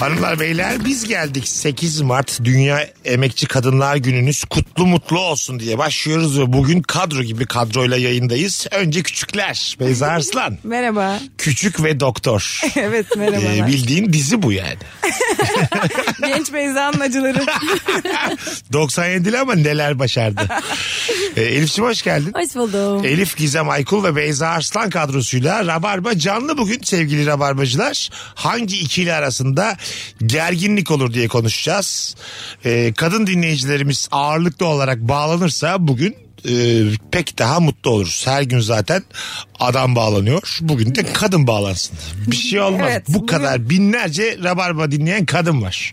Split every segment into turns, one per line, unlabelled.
Hanımlar beyler biz geldik 8 Mart Dünya Emekçi Kadınlar Gününüz kutlu mutlu olsun diye başlıyoruz ve bugün kadro gibi kadroyla yayındayız. Önce küçükler Beyza Arslan.
Merhaba.
Küçük ve doktor.
Evet merhabalar.
Ee, bildiğin dizi bu yani.
Genç Beyza'nın acıları.
97'li ama neler başardı. ee, Elif'ciğim hoş geldin.
Hoş buldum.
Ee,
Elif Gizem Aykul ve Beyza Arslan kadrosuyla Rabarba canlı bugün sevgili Rabarbacılar. Hangi ikili arasında gerginlik olur diye konuşacağız. Ee, kadın dinleyicilerimiz ağırlıklı olarak bağlanırsa bugün e, pek daha mutlu oluruz. Her gün zaten adam bağlanıyor. Bugün de kadın bağlansın. Bir şey olmaz.
Evet,
Bu
bugün-
kadar kadar binlerce rabarba dinleyen kadın var.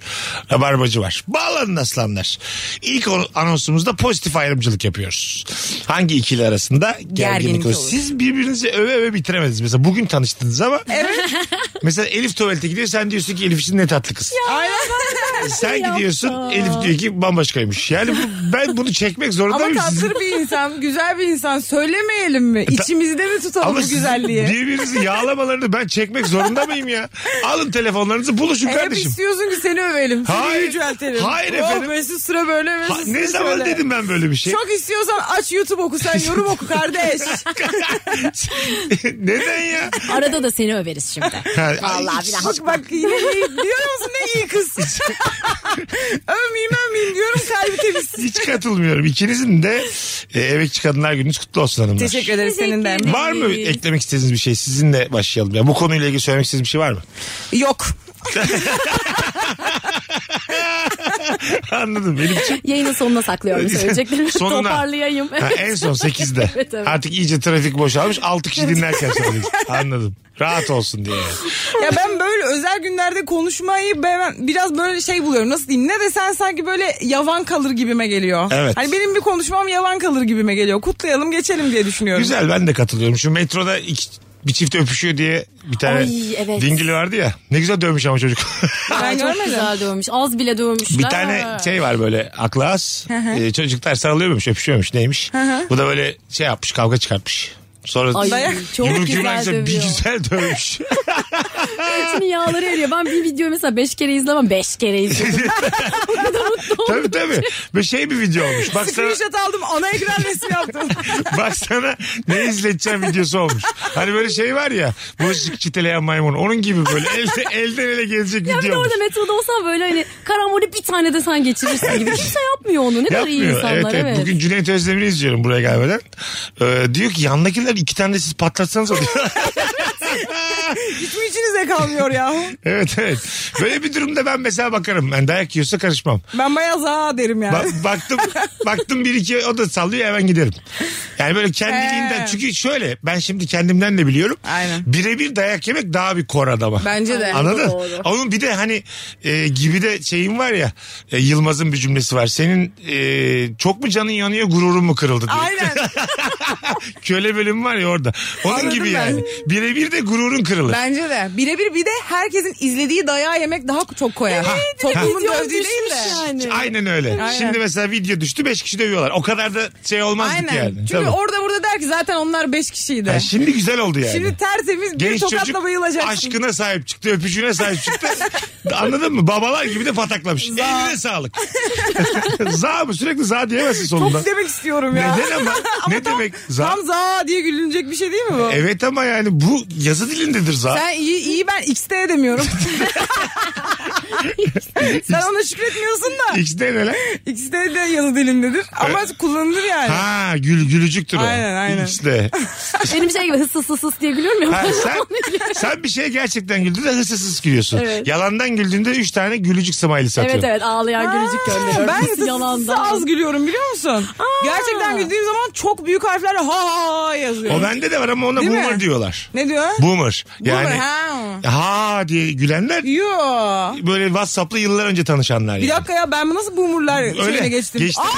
Rabarbacı var. Bağlanın aslanlar. İlk o- anonsumuzda pozitif ayrımcılık yapıyoruz. Hangi ikili arasında gerginlik
Gerginlik
olur?
olur.
Siz birbirinizi öve öve bitiremediniz. Mesela bugün tanıştınız ama. Mesela Elif tuvalete gidiyor. Sen diyorsun ki Elif için ne tatlı kız. E sen gidiyorsun. Elif diyor ki bambaşkaymış. Yani bu- ben bunu çekmek zorunda
Ama
mıyım? Sizin-
tatlı bir insan, güzel bir insan. Söylemeyelim mi?
E,
İçimizde mi tutalım bu
sizin
güzelliği? E,
birbirinizi yağlamalarını ben çekmek zorunda mıyım ya? Alın telefonlarınızı buluşun
E, Hep
kardeşim.
istiyorsun ki seni övelim. Seni
Hayır.
yüceltelim.
Hayır
Oh,
efendim.
Mesut Süre böyle Mesut
Ha,
Süre
ne zaman
şöyle.
dedim ben böyle bir şey?
Çok istiyorsan aç YouTube oku sen yorum oku kardeş.
Neden ya?
Arada da seni överiz şimdi.
Ha,
Vallahi
ay,
billahi.
bak bak yine iyi. Diyor musun ne iyi kız. övmeyeyim övmeyeyim diyorum kalbi temiz.
Hiç katılmıyorum. İkinizin de e, emekçi kadınlar gününüz kutlu olsun hanımlar.
Teşekkür ederiz
Teşekkür
senin de.
ederim.
Var mı eklemek istediğiniz bir şey? Sizinle başlayalım. Ya bu konuyla ilgili söylemek istediğiniz bir şey var mı?
Yok.
Anladım. Benim için
Yayının sonuna saklıyorum söyleyeceklerimi.
Sonuna.
Toparlayayım.
Ha, en son 8'de.
Evet, evet.
Artık iyice trafik boşalmış. 6 kişi dinlerken söyledik. Anladım. Rahat olsun diye.
Ya ben böyle özel günlerde konuşmayı ben biraz böyle şey buluyorum nasıl diyeyim ne desen sanki böyle yavan kalır gibime geliyor.
Evet.
Hani benim bir konuşmam yavan kalır gibime geliyor. Kutlayalım geçelim diye düşünüyorum.
Güzel ben de katılıyorum. Şu metroda iki, bir çift öpüşüyor diye bir tane
Ay, evet.
dingili vardı ya. Ne güzel dövmüş ama çocuk.
Ay,
Ben
çok
görmedim.
güzel dövmüş. Az bile dövmüşler.
Bir tane şey var böyle aklı az. Ee, çocuklar sarılıyormuş, öpüşüyormuş neymiş. Bu da böyle şey yapmış, kavga çıkartmış. Sonra
Ay, çok
Yumruk
güzel
yumruğa güzel- bir
dövüyor.
güzel dövmüş.
İçinin yağları eriyor. Ben bir videoyu mesela beş kere izlemem. Beş kere izledim.
tabii tabii. Ve şey bir video olmuş. Baksana,
Screenshot aldım ana ekran resmi yaptım.
baksana ne izleteceğim videosu olmuş. Hani böyle şey var ya. Bulaşık çiteleyen maymun. Onun gibi böyle elde, elden ele gezecek
ya bir de
video olmuş.
orada metroda olsam böyle hani karambole bir tane de sen geçirirsin gibi. Kimse yapmıyor onu. Ne kadar iyi
Yapmıyor.
insanlar.
evet, evet. Bugün Cüneyt Özdemir'i izliyorum buraya gelmeden. Ee, diyor ki yandakiler iki tane de siz patlatsanız oluyor.
Hiç mi içinize kalmıyor ya?
evet evet. Böyle bir durumda ben mesela bakarım. Ben dayak yiyorsa karışmam.
Ben bayağı za derim yani.
Ba- baktım baktım bir iki o da sallıyor hemen giderim. Yani böyle kendiliğinden
He.
çünkü şöyle ben şimdi kendimden de biliyorum.
Aynen.
Birebir dayak yemek daha bir kor adama.
Bence de.
Anladın?
Doğru.
Onun bir de hani e, gibi de şeyim var ya e, Yılmaz'ın bir cümlesi var. Senin e, çok mu canın yanıyor gururun mu kırıldı diye.
Aynen.
Köle bölümü var ya orada. Onun
Anladım
gibi
ben.
yani. Birebir de gururun kırılır.
Bence de. Birebir bir de herkesin izlediği dayağı yemek daha çok koyar. Toplumun
Video
dövdüğü şey değil de.
düşmüş yani.
Aynen öyle.
Aynen.
Şimdi mesela video düştü 5 kişi dövüyorlar. O kadar da şey olmazdık
Aynen.
yani.
Çünkü
Tabii.
orada burada der ki zaten onlar beş kişiydi.
Ha, şimdi güzel oldu yani.
Şimdi tertemiz bir
Genç
tokatla
çocuk
bayılacaksın.
aşkına sahip çıktı, öpücüğüne sahip çıktı. Anladın mı? Babalar gibi de pataklamış. Eline sağlık. za mı? Sürekli za diyemezsin sonunda.
Çok demek istiyorum ya.
Neden ama? ne demek za?
Tam za diye gülünecek bir şey değil mi bu?
Evet ama yani bu yazı dilindedir za.
Sen iyi iyi ben X'te edemiyorum. Sen ona şükretmiyorsun da
X'de ne lan?
X'te de yazı dilindedir ama kullanılır yani.
Ha gül, gülücüktür o.
Aynen, aynen.
X'de.
Benim şey gibi hıs hıs hıs hıs diye gülüyorum ya.
Ha, sen, sen bir şeye gerçekten güldüğünde hıssızsız gülüyorsun.
Evet.
Yalandan güldüğünde 3 tane gülücük smiley satıyorsun.
evet evet ağlayan gülücük gönderiyorum.
Ben
Hıs
yalandan. az gülüyorum biliyor musun? Gerçekten güldüğüm zaman çok büyük harflerle ha ha ha yazıyor.
O bende de var ama ona
Değil mi?
boomer diyorlar.
Ne diyor?
Boomer.
Boomer,
Yani
ha.
ha diye gülenler
Yo.
böyle WhatsApp'la yıllar önce tanışanlar.
Bir
yani.
dakika ya ben bu nasıl boomerlar şeyine geçtim.
Geçtin
Aa,
mi?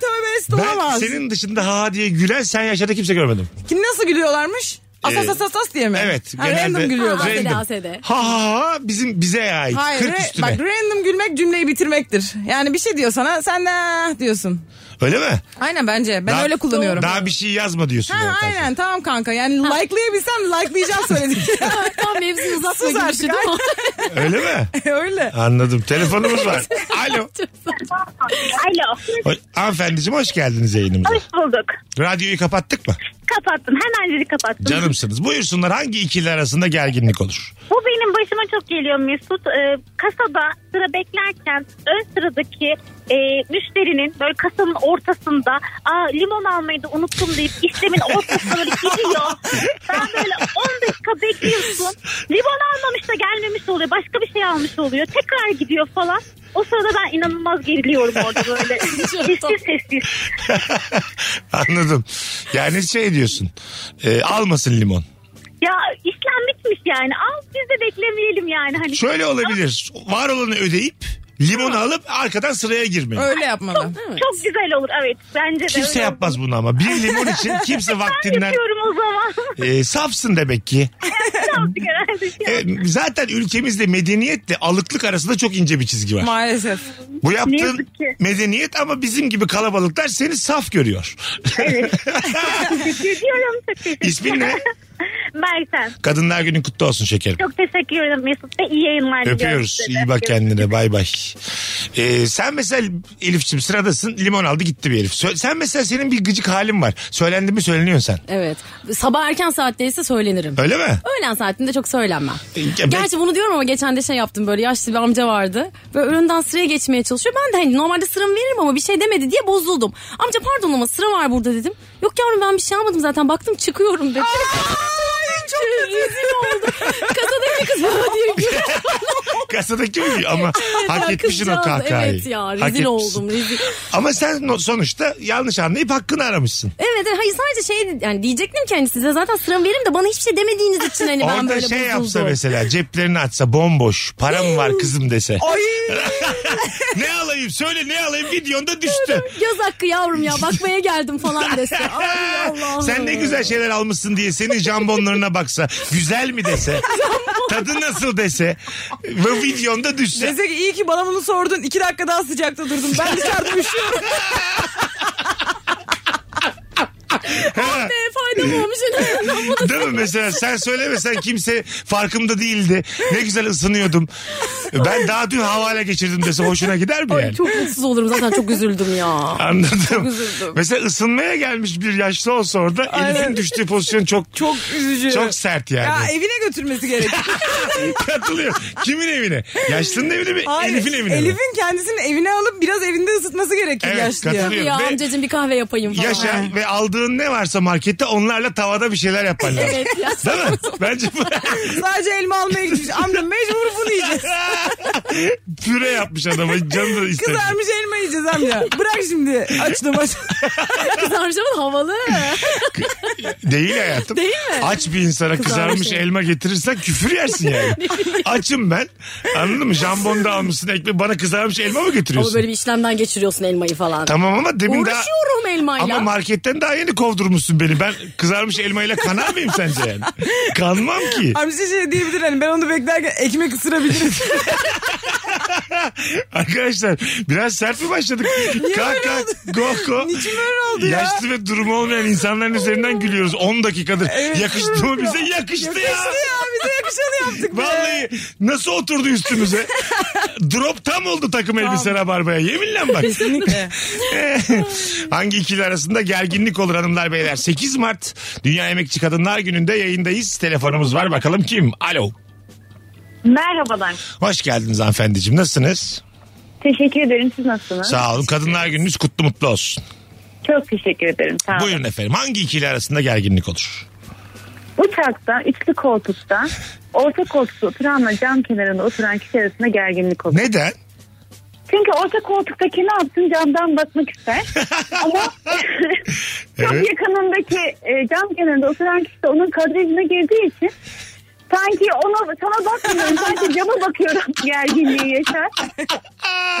tövbe
Ben
estağfurullah.
senin dışında ha diye gülen sen yaşada kimse görmedim.
Kim nasıl gülüyorlarmış? Asas
Ee,
asas as diye mi?
evet,
Ha,
genelde-
random gülüyorlar.
Re-
Asede
Random.
asede.
Ha ha ha bizim bize ait.
Hayır,
40
re-
üstüne.
bak random gülmek cümleyi bitirmektir. Yani bir şey diyor sana sen de ah diyorsun.
Öyle mi?
Aynen bence. Ben
Daha-
öyle kullanıyorum.
Daha bir şey yazma diyorsun. yani
ha,
karşına.
aynen tamam kanka. Yani likelayabilsem likelayacağım söyledik.
Tam mevzuyu uzatma
Sus
gibi bir
artık,
şey değil mi?
Öyle mi?
Öyle.
Anladım. Telefonumuz var. Alo.
Alo.
Hoş, hanımefendiciğim hoş geldiniz yayınımıza.
Hoş bulduk.
Radyoyu kapattık mı?
Kapattım. Hemencecik kapattım.
Canımsınız. Buyursunlar hangi ikili arasında gerginlik olur?
Bu benim başıma çok geliyor Mesut. Ee, kasada sıra beklerken ön sıradaki e, müşterinin böyle kasanın ortasında Aa, limon almayı da unuttum deyip işlemin ortasına böyle gidiyor. Sen böyle 10 dakika bekliyorsun. Limon almamış da gelmemiş oluyor. Başka bir şey almış oluyor. Tekrar gidiyor falan. O sırada ben inanılmaz geriliyorum orada böyle. sessiz sessiz.
Anladım. Yani şey diyorsun. e, almasın limon.
Ya işlem bitmiş yani. Al biz de beklemeyelim yani. Hani
Şöyle olabilir. Var olanı ödeyip limonu alıp arkadan sıraya girmeyin.
Öyle yapmalı.
Çok güzel olur evet. Bence de
Kimse
öyle
yapmaz bunu ama. Bir limon için kimse
Ben
vaktinden...
yapıyorum o zaman.
E, safsın demek ki.
Birazcık herhalde şey
E,
yapıyorum.
zaten ülkemizde medeniyetle alıklık arasında çok ince bir çizgi var.
Maalesef.
Bu yaptığın
yazık ki.
medeniyet ama bizim gibi kalabalıklar seni saf görüyor.
Teşekkür ediyorum. Çok teşekkür
İsmin ne?
Mertem.
Kadınlar günün kutlu olsun şekerim.
Çok teşekkür ederim Mesut Bey. İyi yayınlar diliyorum
Öpüyoruz.
size de.
İyi bak kendine. Bay bay. Ee, sen mesela Elif'çim sıradasın. Limon aldı gitti bir Elif. Sö- sen mesela senin bir gıcık halin var. Söylendi mi söyleniyorsun sen.
Evet. Sabah erken saatteyse söylenirim.
Öyle mi?
Öğlen saatinde çok söylenmem.
Ya ben-
Gerçi bunu diyorum ama geçen de şey yaptım böyle yaşlı bir amca vardı. Böyle önünden sıraya geçmeye çalışıyor. Ben de hani normalde sıramı veririm ama bir şey demedi diye bozuldum. Amca pardon ama sıra var burada dedim. Yok yavrum ben bir şey almadım zaten baktım çıkıyorum dedi. çok rezil oldu. Kasadaki kız baba diye gülüyor.
Kasadaki mi? Ama hak
Ya
etmişsin o
kızcağız,
kahkahayı.
Evet ya
Hak
rezil
etmişsin.
oldum rezil.
Ama sen no- sonuçta yanlış anlayıp hakkını aramışsın.
Evet evet, hayır sadece şey yani diyecektim ki hani size zaten sıramı veririm de bana hiçbir şey demediğiniz için hani ben
Orada
böyle
şey
bozuldum.
yapsa mesela ceplerini açsa bomboş. Param var kızım dese.
Ay.
ne alayım söyle ne alayım videonda düştü.
Göz hakkı yavrum ya bakmaya geldim falan dese. Ay Allah'ım.
Sen ne güzel şeyler almışsın diye senin jambonlarına baksa. Güzel mi dese. tadı nasıl dese. Ve videonda düşse.
Dese ki iyi ki bana bunu sordun. İki dakika daha sıcakta durdum. Ben dışarıda üşüyorum.
Ha,
Be, Ee, faydam olmuş.
Değil mi mesela sen söylemesen kimse farkımda değildi. Ne güzel ısınıyordum. Ben daha dün havale geçirdim dese hoşuna gider mi
Ay
yani?
çok mutsuz olurum zaten çok üzüldüm ya.
Anladım.
üzüldüm.
Mesela ısınmaya gelmiş bir yaşlı olsa orada Elif'in düştüğü pozisyon çok çok,
Çok üzücü.
sert yani.
ya e- evine götürmesi gerekiyor.
Katılıyor. Kimin evine? Yaşlının evine mi?
Hayır,
Elif'in evine mi?
Elif'in kendisini evine alıp biraz evinde ısıtması gerekir
Evet,
yaşlıya.
katılıyorum.
Ya
Ve-
amcacığım bir kahve yapayım falan.
Yaşa ve aldığın ne varsa markette onlarla tavada bir şeyler yapman lazım.
Evet ya.
Değil mi? Bence bu...
Sadece elma almaya gitmiş. Amca mecbur bunu yiyeceğiz.
Püre yapmış adamı. Canı da istedi.
Kızarmış elma yiyeceğiz amca. Bırak şimdi açtım aç.
Kızarmış ama havalı.
Değil hayatım.
Değil mi?
Aç bir insana kızarmış,
Kızarmış
elma getirirsen küfür yersin yani. Açım ben. Anladın mı? Jambon da almışsın ekmeği. Bana kızarmış elma mı
Ama
getiriyorsun?
böyle bir işlemden geçiriyorsun elmayı falan.
Tamam ama demin daha...
Uğraşıyorum elmayla.
Ama marketten daha yeni kovdurmuşsun beni. Ben kızarmış elmayla kanar mıyım sence yani? Kanmam ki.
Amca şey diyebilir hani ben onu beklerken ekmek ısırabilirim.
Arkadaşlar biraz sert mi başladık? kalk kalk go go.
Niçin böyle oldu ya?
Yaşlı ve durumu olmayan insanların üzerinden gülüyoruz 10 dakikadır.
Evet.
yakıştı mı bize? Yakıştı,
Yakıştı
ya.
ya bize yakışanı yaptık. be.
Vallahi nasıl oturdu üstümüze? Drop tam oldu takım elbise rabarbaya. Yeminle bak.
Kesinlikle.
Hangi ikili arasında gerginlik olur hanımlar beyler? 8 Mart Dünya Emekçi Kadınlar Günü'nde yayındayız. Telefonumuz var bakalım kim? Alo.
Merhabalar.
Hoş geldiniz hanımefendiciğim. Nasılsınız?
Teşekkür ederim. Siz nasılsınız?
Sağ olun. Kadınlar Gününüz kutlu mutlu olsun.
Çok teşekkür ederim. Sağ olun.
Buyurun efendim. Hangi ikili arasında gerginlik olur?
Uçakta, üçlü koltukta, orta koltukta oturanla cam kenarında oturan kişi arasında gerginlik olur.
Neden?
Çünkü orta koltuktaki ne yapsın camdan bakmak ister. Ama çok
Evet.
yakınındaki e, cam kenarında oturan kişi de onun kadrajına girdiği için sanki ona sana bakmıyorum sanki cama bakıyorum gerginliği yaşar.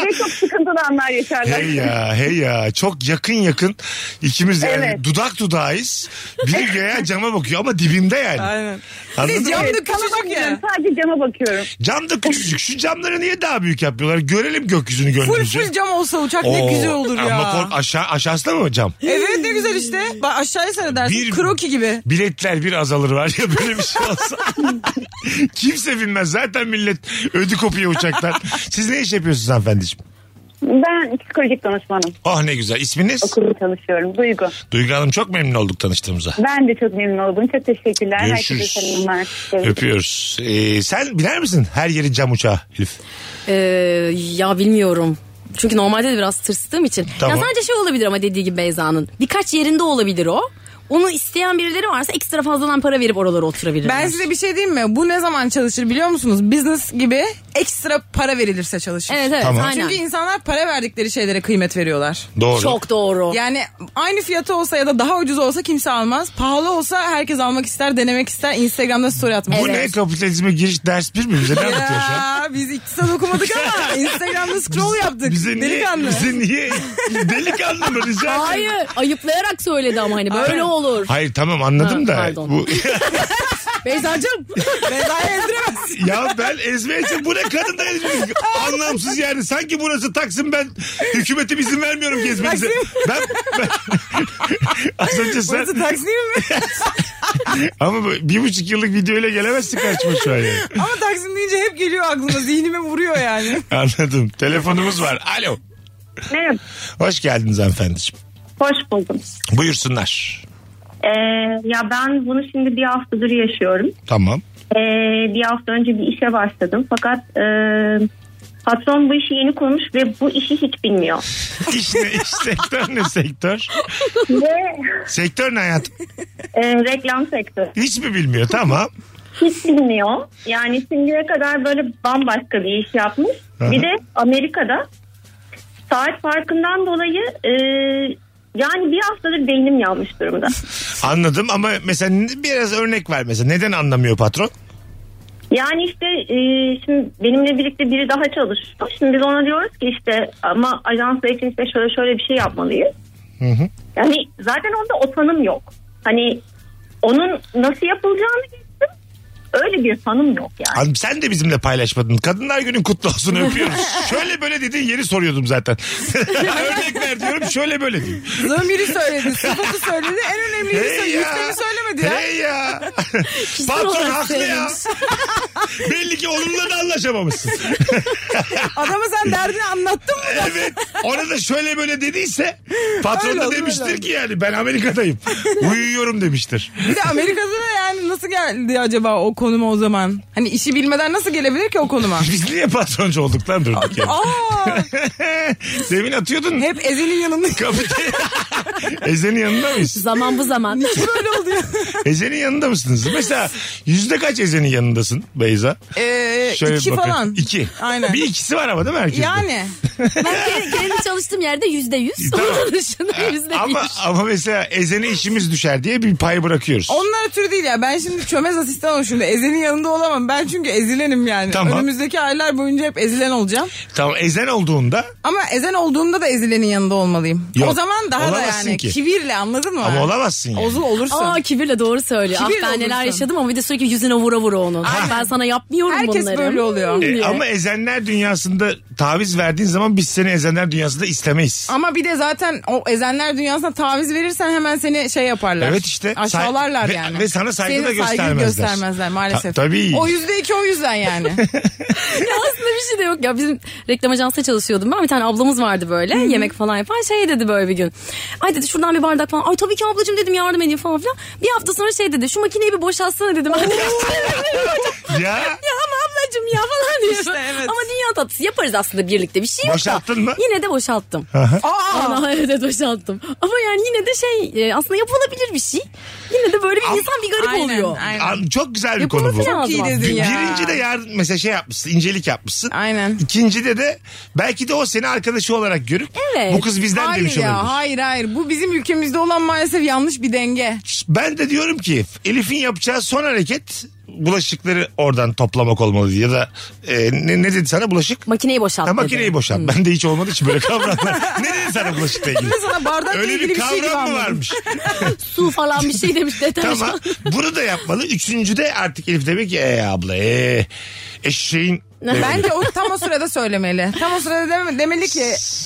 Ve çok sıkıntılı anlar yaşarlar.
Hey ya hey ya çok yakın yakın ikimiz yani
Evet.
dudak dudağıyız. Biri göğe cama bakıyor ama dibimde yani.
Aynen.
Anladın
Biz
mı?
cam da
Evet, sana
küçücük ya.
bakmıyorum, Sadece cama bakıyorum.
Cam da küçücük. Şu camları niye daha büyük yapıyorlar? Görelim gökyüzünü
Full
gönlümüzü.
full cam olsa uçak ne güzel olur ya.
Ama kork aşağı, aşağısı da mı cam?
Evet ne güzel işte. Bak aşağıya seyredersin.
Bir-
Kroki gibi.
Biletler bir azalır var ya böyle bir şey olsa. Kimse bilmez zaten millet ödü kopuyor uçaktan. Siz ne iş yapıyorsunuz hanımefendiciğim?
Ben psikolojik danışmanım.
Oh ne güzel. İsminiz?
Okulda çalışıyorum. Duygu.
Duygu Hanım çok memnun olduk tanıştığımıza.
Ben de çok memnun oldum. Çok teşekkürler. Herkese
Görüşürüz.
selamlar. Görüşürüz.
Öpüyoruz. Ee, sen biner misin her yeri cam uçağı Elif?
Ee, ya bilmiyorum. Çünkü normalde de biraz tırstığım için.
Tamam.
Ya sadece şey olabilir ama dediği gibi Beyza'nın. Birkaç yerinde olabilir o. Onu isteyen birileri varsa ekstra fazladan para verip oralara oturabilirler.
Ben size bir şey diyeyim mi? Bu ne zaman çalışır biliyor musunuz? Business gibi ekstra para verilirse çalışır.
Evet evet
Tamam.
aynen.
Çünkü insanlar para verdikleri şeylere kıymet veriyorlar.
Doğru.
Çok doğru.
Yani aynı fiyatı olsa ya da daha ucuz olsa kimse almaz. Pahalı olsa herkes almak ister, denemek ister. Instagram'da story atmak
Bu ne kapitalizme giriş ders bir mi? Bize ne anlatıyor şu an?
Ya, biz iktisat okumadık ama Instagram'da scroll yaptık.
Bize niye,
Delikanlı.
Bize niye? Delikanlı mı rica ederim?
Hayır ayıplayarak söyledi ama hani böyle olur.
Hayır tamam anladım
Ha,
da.
pardon.
Bu,
Beyza'cığım.
Beyza'yı ezdiremezsin.
ya ben ezmeye için bu ne kadın da ezmeye Anlamsız yani. Sanki burası Taksim ben hükümetim izin vermiyorum gezmenize. Ben, ben- az önce sen
Burası Taksim mi?
ama bu bir buçuk yıllık videoyla gelemezsin karşıma şu an yani.
Ama Taksim deyince hep geliyor aklıma. Zihnime vuruyor yani.
Anladım. Telefonumuz var. Alo.
Merhaba.
Hoş geldiniz hanımefendiciğim.
Hoş buldum.
Buyursunlar.
Ee, ya ben bunu şimdi bir haftadır yaşıyorum.
Tamam.
Ee, bir hafta önce bir işe başladım. Fakat e, patron bu işi yeni kurmuş ve bu işi hiç bilmiyor.
İş ne? İş sektör ne sektör?
ve
Sektör ne hayatım?
e, reklam sektörü.
Hiç mi bilmiyor? Tamam.
Hiç bilmiyor. Yani şimdiye kadar böyle bambaşka bir iş yapmış.
Aha.
Bir de Amerika'da saat farkından dolayı e, yani bir haftadır beynim yanmış durumda.
Anladım ama mesela biraz örnek ver mesela. Neden anlamıyor patron?
Yani işte e, şimdi benimle birlikte biri daha çalışıyor. Şimdi biz ona diyoruz ki işte ama ajansla için işte şöyle şöyle bir şey yapmalıyız.
Hı hı.
Yani zaten onda o tanım yok. Hani onun nasıl yapılacağını geçtim. Öyle bir tanım yok yani.
Hanım sen de bizimle paylaşmadın. Kadınlar günün kutlu olsun öpüyoruz. Şöyle böyle dediğin yeri soruyordum zaten. örnek ver diyorum şöyle böyle diyor.
Zamiri söyledi, sıfatı söyledi. En önemliydi
Hey
söyledi.
ya.
Yüklemi söylemedi ya.
Hey ya. patron
olarak
haklı ya.
söylemiş.
Belli ki onunla da anlaşamamışsın.
Adama sen derdini anlattın mı?
Evet. Ona da şöyle böyle dediyse patron
Öyle
da
oldu, öyle
demiştir
oldu.
ki yani ben Amerika'dayım. Uyuyorum demiştir.
Bir de Amerika'da da yani nasıl geldi acaba o konuma o zaman? Hani işi bilmeden nasıl gelebilir ki o konuma?
Biz niye patroncu olduk lan durduk yani.
Aa,
Demin atıyordun.
hep Ezel'in yanında.
Kapite. Ezen'in yanında mıyız?
Zaman bu zaman.
Niye böyle oldu ya?
Ezen'in yanında mısınız? Mesela yüzde kaç Ezen'in yanındasın Beyza?
Ee,
Şöyle bir
iki
bakın.
falan.
İki.
Aynen.
Bir ikisi var ama değil mi herkeste?
Yani.
Ben kendi, kendi çalıştığım yerde yüzde yüz.
Tamam.
Onun dışında yüzde
Ama,
bir.
ama mesela Ezen'e işimiz düşer diye bir pay bırakıyoruz.
Onlar türü değil ya. Ben şimdi çömez asistan olmuşum da Ezel'in yanında olamam. Ben çünkü ezilenim yani.
Tamam.
Önümüzdeki aylar boyunca hep ezilen olacağım.
Tamam Ezen olduğunda
Ama ezen olduğumda da ezilenin yanında olmalıyım.
Yok,
o zaman daha da
olamazsın
yani
ki.
kibirle anladın mı?
ama olamazsın yani.
Ozul olursun.
Aa kibirle doğru söylüyor.
Kibirle
ah ben neler
olursun.
yaşadım ama bir de sürekli yüzüne vura vura onu. Ah, ben sana yapmıyorum
Herkes
bunları.
böyle oluyor.
Hmm,
E,
diye.
ama ezenler dünyasında taviz verdiğin zaman biz seni ezenler dünyasında istemeyiz.
Ama bir de zaten o ezenler dünyasına taviz verirsen hemen seni şey yaparlar.
Evet işte.
Aşağılarlar
Say- ve-
yani.
ve sana saygı
Seni
da göstermezler.
göstermezler maalesef.
Ta- tabii.
O yüzde iki o yüzden yani.
Ya aslında bir şey de yok ya bizim reklam ajansında çalışıyordum ben bir tane ablamız vardı böyle yemek falan yapan şey dedi böyle bir gün ay dedi şuradan bir bardak falan ay tabii ki ablacığım dedim yardım edeyim falan filan bir hafta sonra şey dedi şu makineyi bir boşaltsana dedim Ay,
Ya
ya ama ablacığım ya falan diyor
İşte evet.
ama dünya tatlısı yaparız aslında birlikte bir şey yok da.
Boşalttın mı?
yine de boşalttım
Aa,
Ana, evet evet, boşalttım ama yani yine de şey e, aslında yapılabilir bir şey yine de böyle bir insan bir garip
aynen,
oluyor
aynen.
an- çok güzel bir konu
yapılması
bu.
lazım
Çok iyi
aslında.
dedin ya.
Birinci de yardım mesela şey yapmışsın incelik yapmışsın.
Aynen.
İkincide de belki de o seni arkadaşı olarak görüp
Evet.
bu kız bizden
Hayır
demiş
ya
olabilir.
hayır hayır. Bu bizim ülkemizde olan maalesef yanlış bir denge.
Ben de diyorum ki Elif'in yapacağı son hareket bulaşıkları oradan toplamak olmalı diye. ya da e, ne, ne dedi sana bulaşık?
Makineyi boşalt
Ha,
dedi.
makineyi boşalt. Ben de hiç olmadığı için böyle kavramlar. ne dedi sana bulaşıkla ilgili?
Ben sana bardakla
Öyle
ilgili
bir
bir şey gibi
kavram mı
anladım.
varmış?
Su falan bir şey demiş deterjan.
Tamam. Bunu da yapmalı. Üçüncü de artık Elif demek ki e abla e, eşeğin
Bence o tam o sırada söylemeli. Tam o sırada deme- demeli ki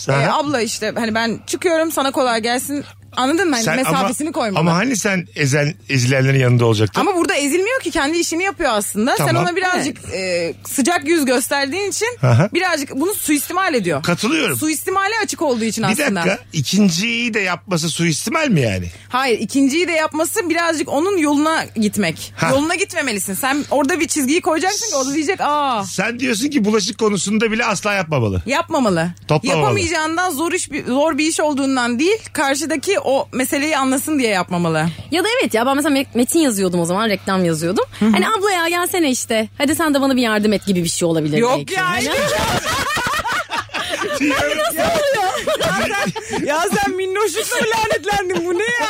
e,
Aha.
abla işte hani ben çıkıyorum sana kolay gelsin. Anladın mı? Hani
Sen
mesafesini
ama,
koymalı.
Ama hani sen ezen, ezilenlerin yanında olacaktın?
Ama burada ezilmiyor ki kendi işini yapıyor aslında. Sen
Tamam.
ona birazcık e, sıcak yüz gösterdiğin için
Aha.
birazcık bunu suistimal ediyor.
Katılıyorum.
Suistimale açık olduğu için
bir
aslında.
dakika ikinciyi de yapması suistimal mi yani?
Hayır ikinciyi de yapması birazcık onun yoluna gitmek.
Ha.
Yoluna gitmemelisin. Sen orada bir çizgiyi koyacaksın ki o da diyecek aa
Sen diyorsun ki bulaşık konusunda bile asla yapmamalı.
yapmamalı.
Toplamamalı.
Yapamayacağından zor iş zor bir iş olduğundan değil karşıdaki o meseleyi anlasın diye yapmamalı.
Ya da evet ya ben mesela me- metin yazıyordum o zaman reklam yazıyordum. Hani abla ya gelsene işte hadi sen de bana bir yardım et gibi bir şey olabilir.
Yok
belki.
ya.
Hani-
ya sen minnoşlukla lanetlendin bu ne ya?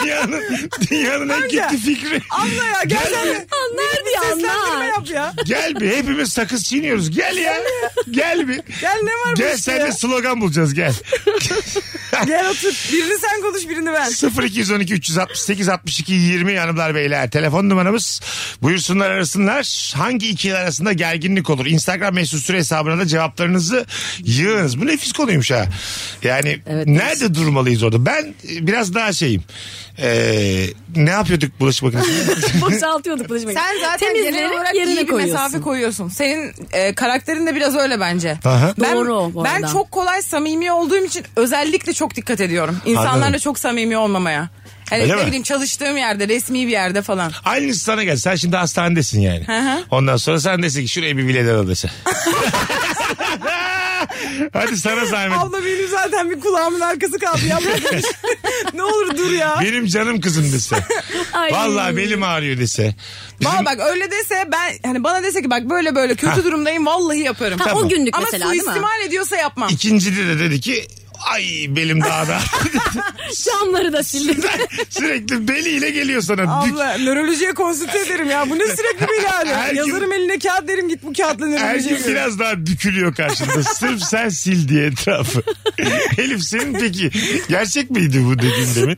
dünyanın, dünyanın en kötü fikri.
Abla ya gel sen de.
Anlar diye
Seslendirme
anlar.
yap ya.
Gel bir hepimiz sakız çiğniyoruz. Gel ya. Gel bir.
Gel ne var bu
Gel
işte
sen
ya?
de slogan bulacağız gel.
Gel otur. Birini sen konuş birini ben.
0212 368 62 20 yanımlar beyler. Telefon numaramız. Buyursunlar arasınlar. Hangi ikili arasında gerginlik olur? Instagram mesut süre hesabına da cevaplarınızı yığınız. Bu nefis konuymuş ha. Yani nerede durmalıyız orada? Ben e, biraz daha şeyim. Ee, ne yapıyorduk bulaşık makinesi?
Boşaltıyorduk bulaşık makinesi.
Sen zaten genel
Temizleri
olarak iyi bir mesafe koyuyorsun. Senin e, karakterin de biraz öyle bence.
Aha.
Ben,
Doğru bu
Ben
arada.
çok kolay samimi olduğum için özellikle çok dikkat ediyorum. İnsanlarla
Anladım.
çok samimi olmamaya. Hani
Öyle
ne
mi?
bileyim çalıştığım yerde, resmi bir yerde falan.
Aynısı sana gel. Sen şimdi hastanedesin yani.
hı.
Ondan sonra sen desin ki şuraya bir bileden al dese. Hadi sana zahmet.
Abla benim zaten bir kulağımın arkası kaldı ya. ne olur dur ya.
Benim canım kızım dese.
Ay.
Vallahi belim ağrıyor dese.
Valla bak öyle dese ben hani bana dese ki bak böyle böyle kötü durumdayım vallahi yaparım.
Ha, O günlük
Ama
mesela değil mi?
suistimal ediyorsa yapmam.
İkinci de, de dedi ki ay belim daha da.
Camları da sildim.
Sürekli beliyle geliyor sana. Dük-
Abla nörolojiye konsülte ederim ya. Bu ne sürekli bir
Her
hali?
gün-
Yazarım eline kağıt derim git bu kağıtla
Her
nörolojiye
gün
gir.
biraz daha bükülüyor karşında. Sırf sen sil diye etrafı. Elif senin peki gerçek miydi bu dediğin demin?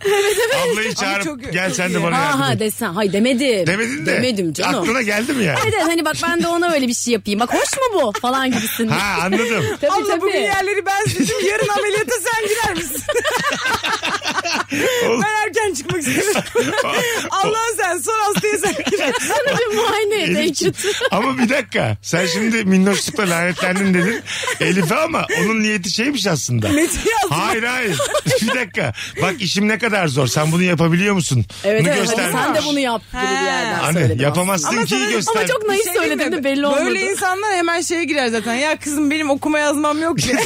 Ablayı çağırıp
çok-
gel
çok
sen de
iyi.
bana yardım
Aha
et.
desen. Hay demedim.
Demedin de.
Demedim canım.
Aklına geldi mi yani?
Evet evet, hani bak ben de ona öyle bir şey yapayım. Bak hoş mu bu falan gibisin.
Ha anladım.
Tabii,
Abla bugün
tabii.
yerleri ben sildim yarın ameliyata sen girer misin?
Oğlum.
ben erken çıkmak istiyorum. Allah'ım sen son hastaya sen girer.
Sana bir muayene et en
Elif'ciğim,
kötü.
ama bir dakika sen şimdi minnoşlukla lanetlendin dedin Elif'e ama onun niyeti şeymiş aslında.
Metin yazdı.
Hayır hayır bir dakika bak işim ne kadar zor sen bunu yapabiliyor musun?
Evet
bunu
evet hadi
göstermiş.
sen de bunu yap gibi bir yerden
Anne
söyledim
yapamazsın
Ama
ki
sana-
göster.
Ama çok
Bir
naif
şey diyeyim mi?
söyledim de belli olmadı.
Böyle insanlar hemen şeye girer zaten. Ya kızım benim okuma yazmam yok ki.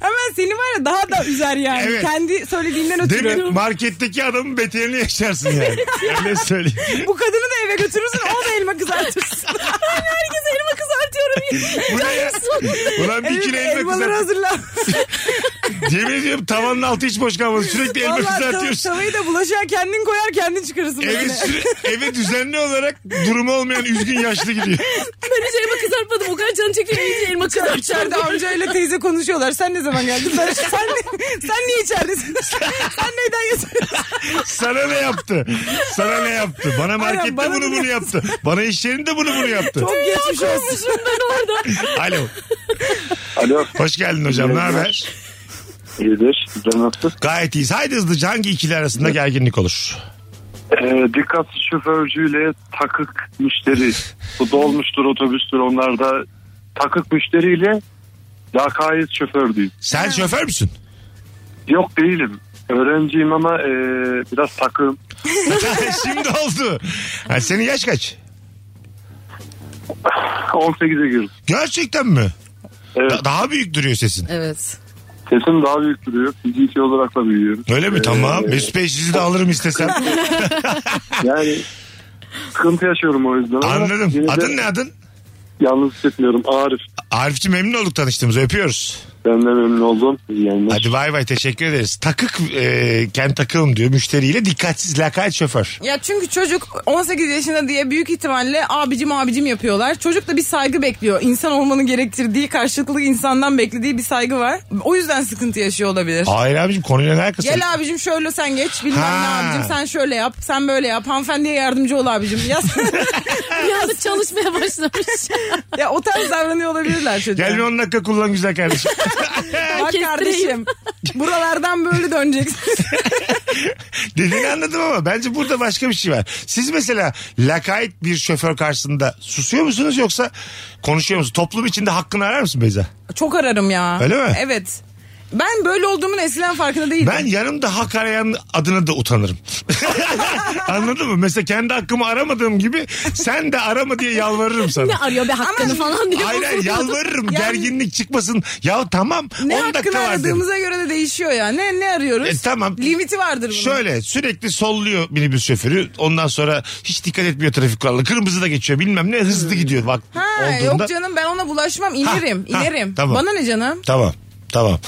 hemen seni var ya daha da üzer yani.
Evet.
Kendi söylediğinden ötürü.
Değil mi? Marketteki adamın beterini yaşarsın yani. Öyle söyleyeyim.
Bu kadını da eve götürürsün o da elma kızartırsın. ben herkese elma kızartıyorum.
Bu ne ya? Ulan bir kilo elma
Elmaları
kızart.
hazırla.
Yemin ediyorum tavanın altı hiç boş kalmadı. Sürekli elma
Vallahi tav-
kızartıyorsun.
Tavayı da bulaşığa kendin koyar kendin çıkarırsın.
Eve,
böyle.
süre, eve düzenli olarak durumu olmayan üzgün yaşlı gidiyor.
Ben hiç elma kızartmadım. O kadar canı çekiyor. iyice elma
İçeride
kızartacağım.
amcayla teyze konuşuyorlar. Sen ne zaman geldin? Ben, sen, sen niye içeridesin? sen neyden yatıyorsun?
Sana ne yaptı? Sana ne yaptı? Bana markette
bana
bunu
bunu
bunu yaptı. Bana iş yerinde bunu bunu yaptı.
Çok geçmiş olsun.
Olmuşum ben orada.
Alo.
Alo.
Hoş geldin hocam. Ne haber?
İyidir. Güzel nasıl?
Gayet iyiyiz. Haydi hızlıca hangi ikili arasında gerginlik olur?
Ee, dikkatsiz şoförcüyle takık müşteri. Bu dolmuştur otobüstür onlar da takık müşteriyle lakayet şoför diyeyim.
Sen şoför müsün?
Yok değilim. Öğrenciyim ama e, biraz takığım.
Şimdi oldu. Ha, senin yaş kaç?
18'e girdim.
Gerçekten mi?
Evet.
Da- daha büyük duruyor sesin.
Evet.
Sesim daha büyük duruyor. Fiziki olarak da büyüyorum.
Öyle mi?
Ee,
tamam. Mesut Bey sizi de alırım istesem.
Yani sıkıntı yaşıyorum o yüzden. ama
Anladım.
yine de
Adın ne adın?
Yalnız hissetmiyorum. Arif.
Arif'ciğim memnun olduk tanıştığımıza. Öpüyoruz.
Ben de memnun oldum. İyi yayınlar.
Hadi bay bay teşekkür ederiz. Takık e, kendi takığım diyor müşteriyle dikkatsiz lakayt şoför.
Ya çünkü çocuk 18 yaşında diye büyük ihtimalle abicim abicim yapıyorlar. Çocuk da bir saygı bekliyor. İnsan olmanın gerektirdiği, karşılıklı insandan beklediği bir saygı var. O yüzden sıkıntı yaşıyor olabilir.
Hayır abicim konuyla ne alakası?
Gel abicim şöyle sen geç bilmem ne
Ha.
abicim sen şöyle yap sen böyle yap hanımefendiye yardımcı ol abicim. Ya,
Bir anda çalışmaya başlamış.
ya o tarz davranıyor olabilirler çocuğa.
Gel bir 10 dakika kullan güzel kardeşim.
Bak
Kestireyim.
kardeşim buralardan böyle döneceksin.
Dediğini anladım ama bence burada başka bir şey var. Siz mesela lakayt bir şoför karşısında susuyor musunuz yoksa konuşuyor musunuz? Toplum içinde hakkını arar mısın Beyza?
Çok ararım ya.
Öyle mi?
Evet. Ben böyle olduğumun eskilen farkında değilim.
Ben yanımda hak arayan adına da utanırım. Anladın mı? Mesela kendi hakkımı aramadığım gibi sen de arama diye yalvarırım
ne
sana.
arıyor be hakkını falan diyor.
Hayır hayır yalvarırım
Yani-
gerginlik çıkmasın. Ya tamam
Ne
10
hakkını
dakika var dedim.
aradığımıza göre de değişiyor ya. Ne ne arıyoruz?
E, tamam.
Limiti vardır bunun.
Şöyle sürekli solluyor minibüs şoförü. Ondan sonra hiç dikkat etmiyor trafik kuralına. Kırmızı da geçiyor bilmem ne hızlı gidiyor bak
Hmm. Ha
olduğunda.
yok canım ben ona bulaşmam. İnerim,
Ha, ha,
inerim.
tamam.
Bana ne canım?
Tamam tamam.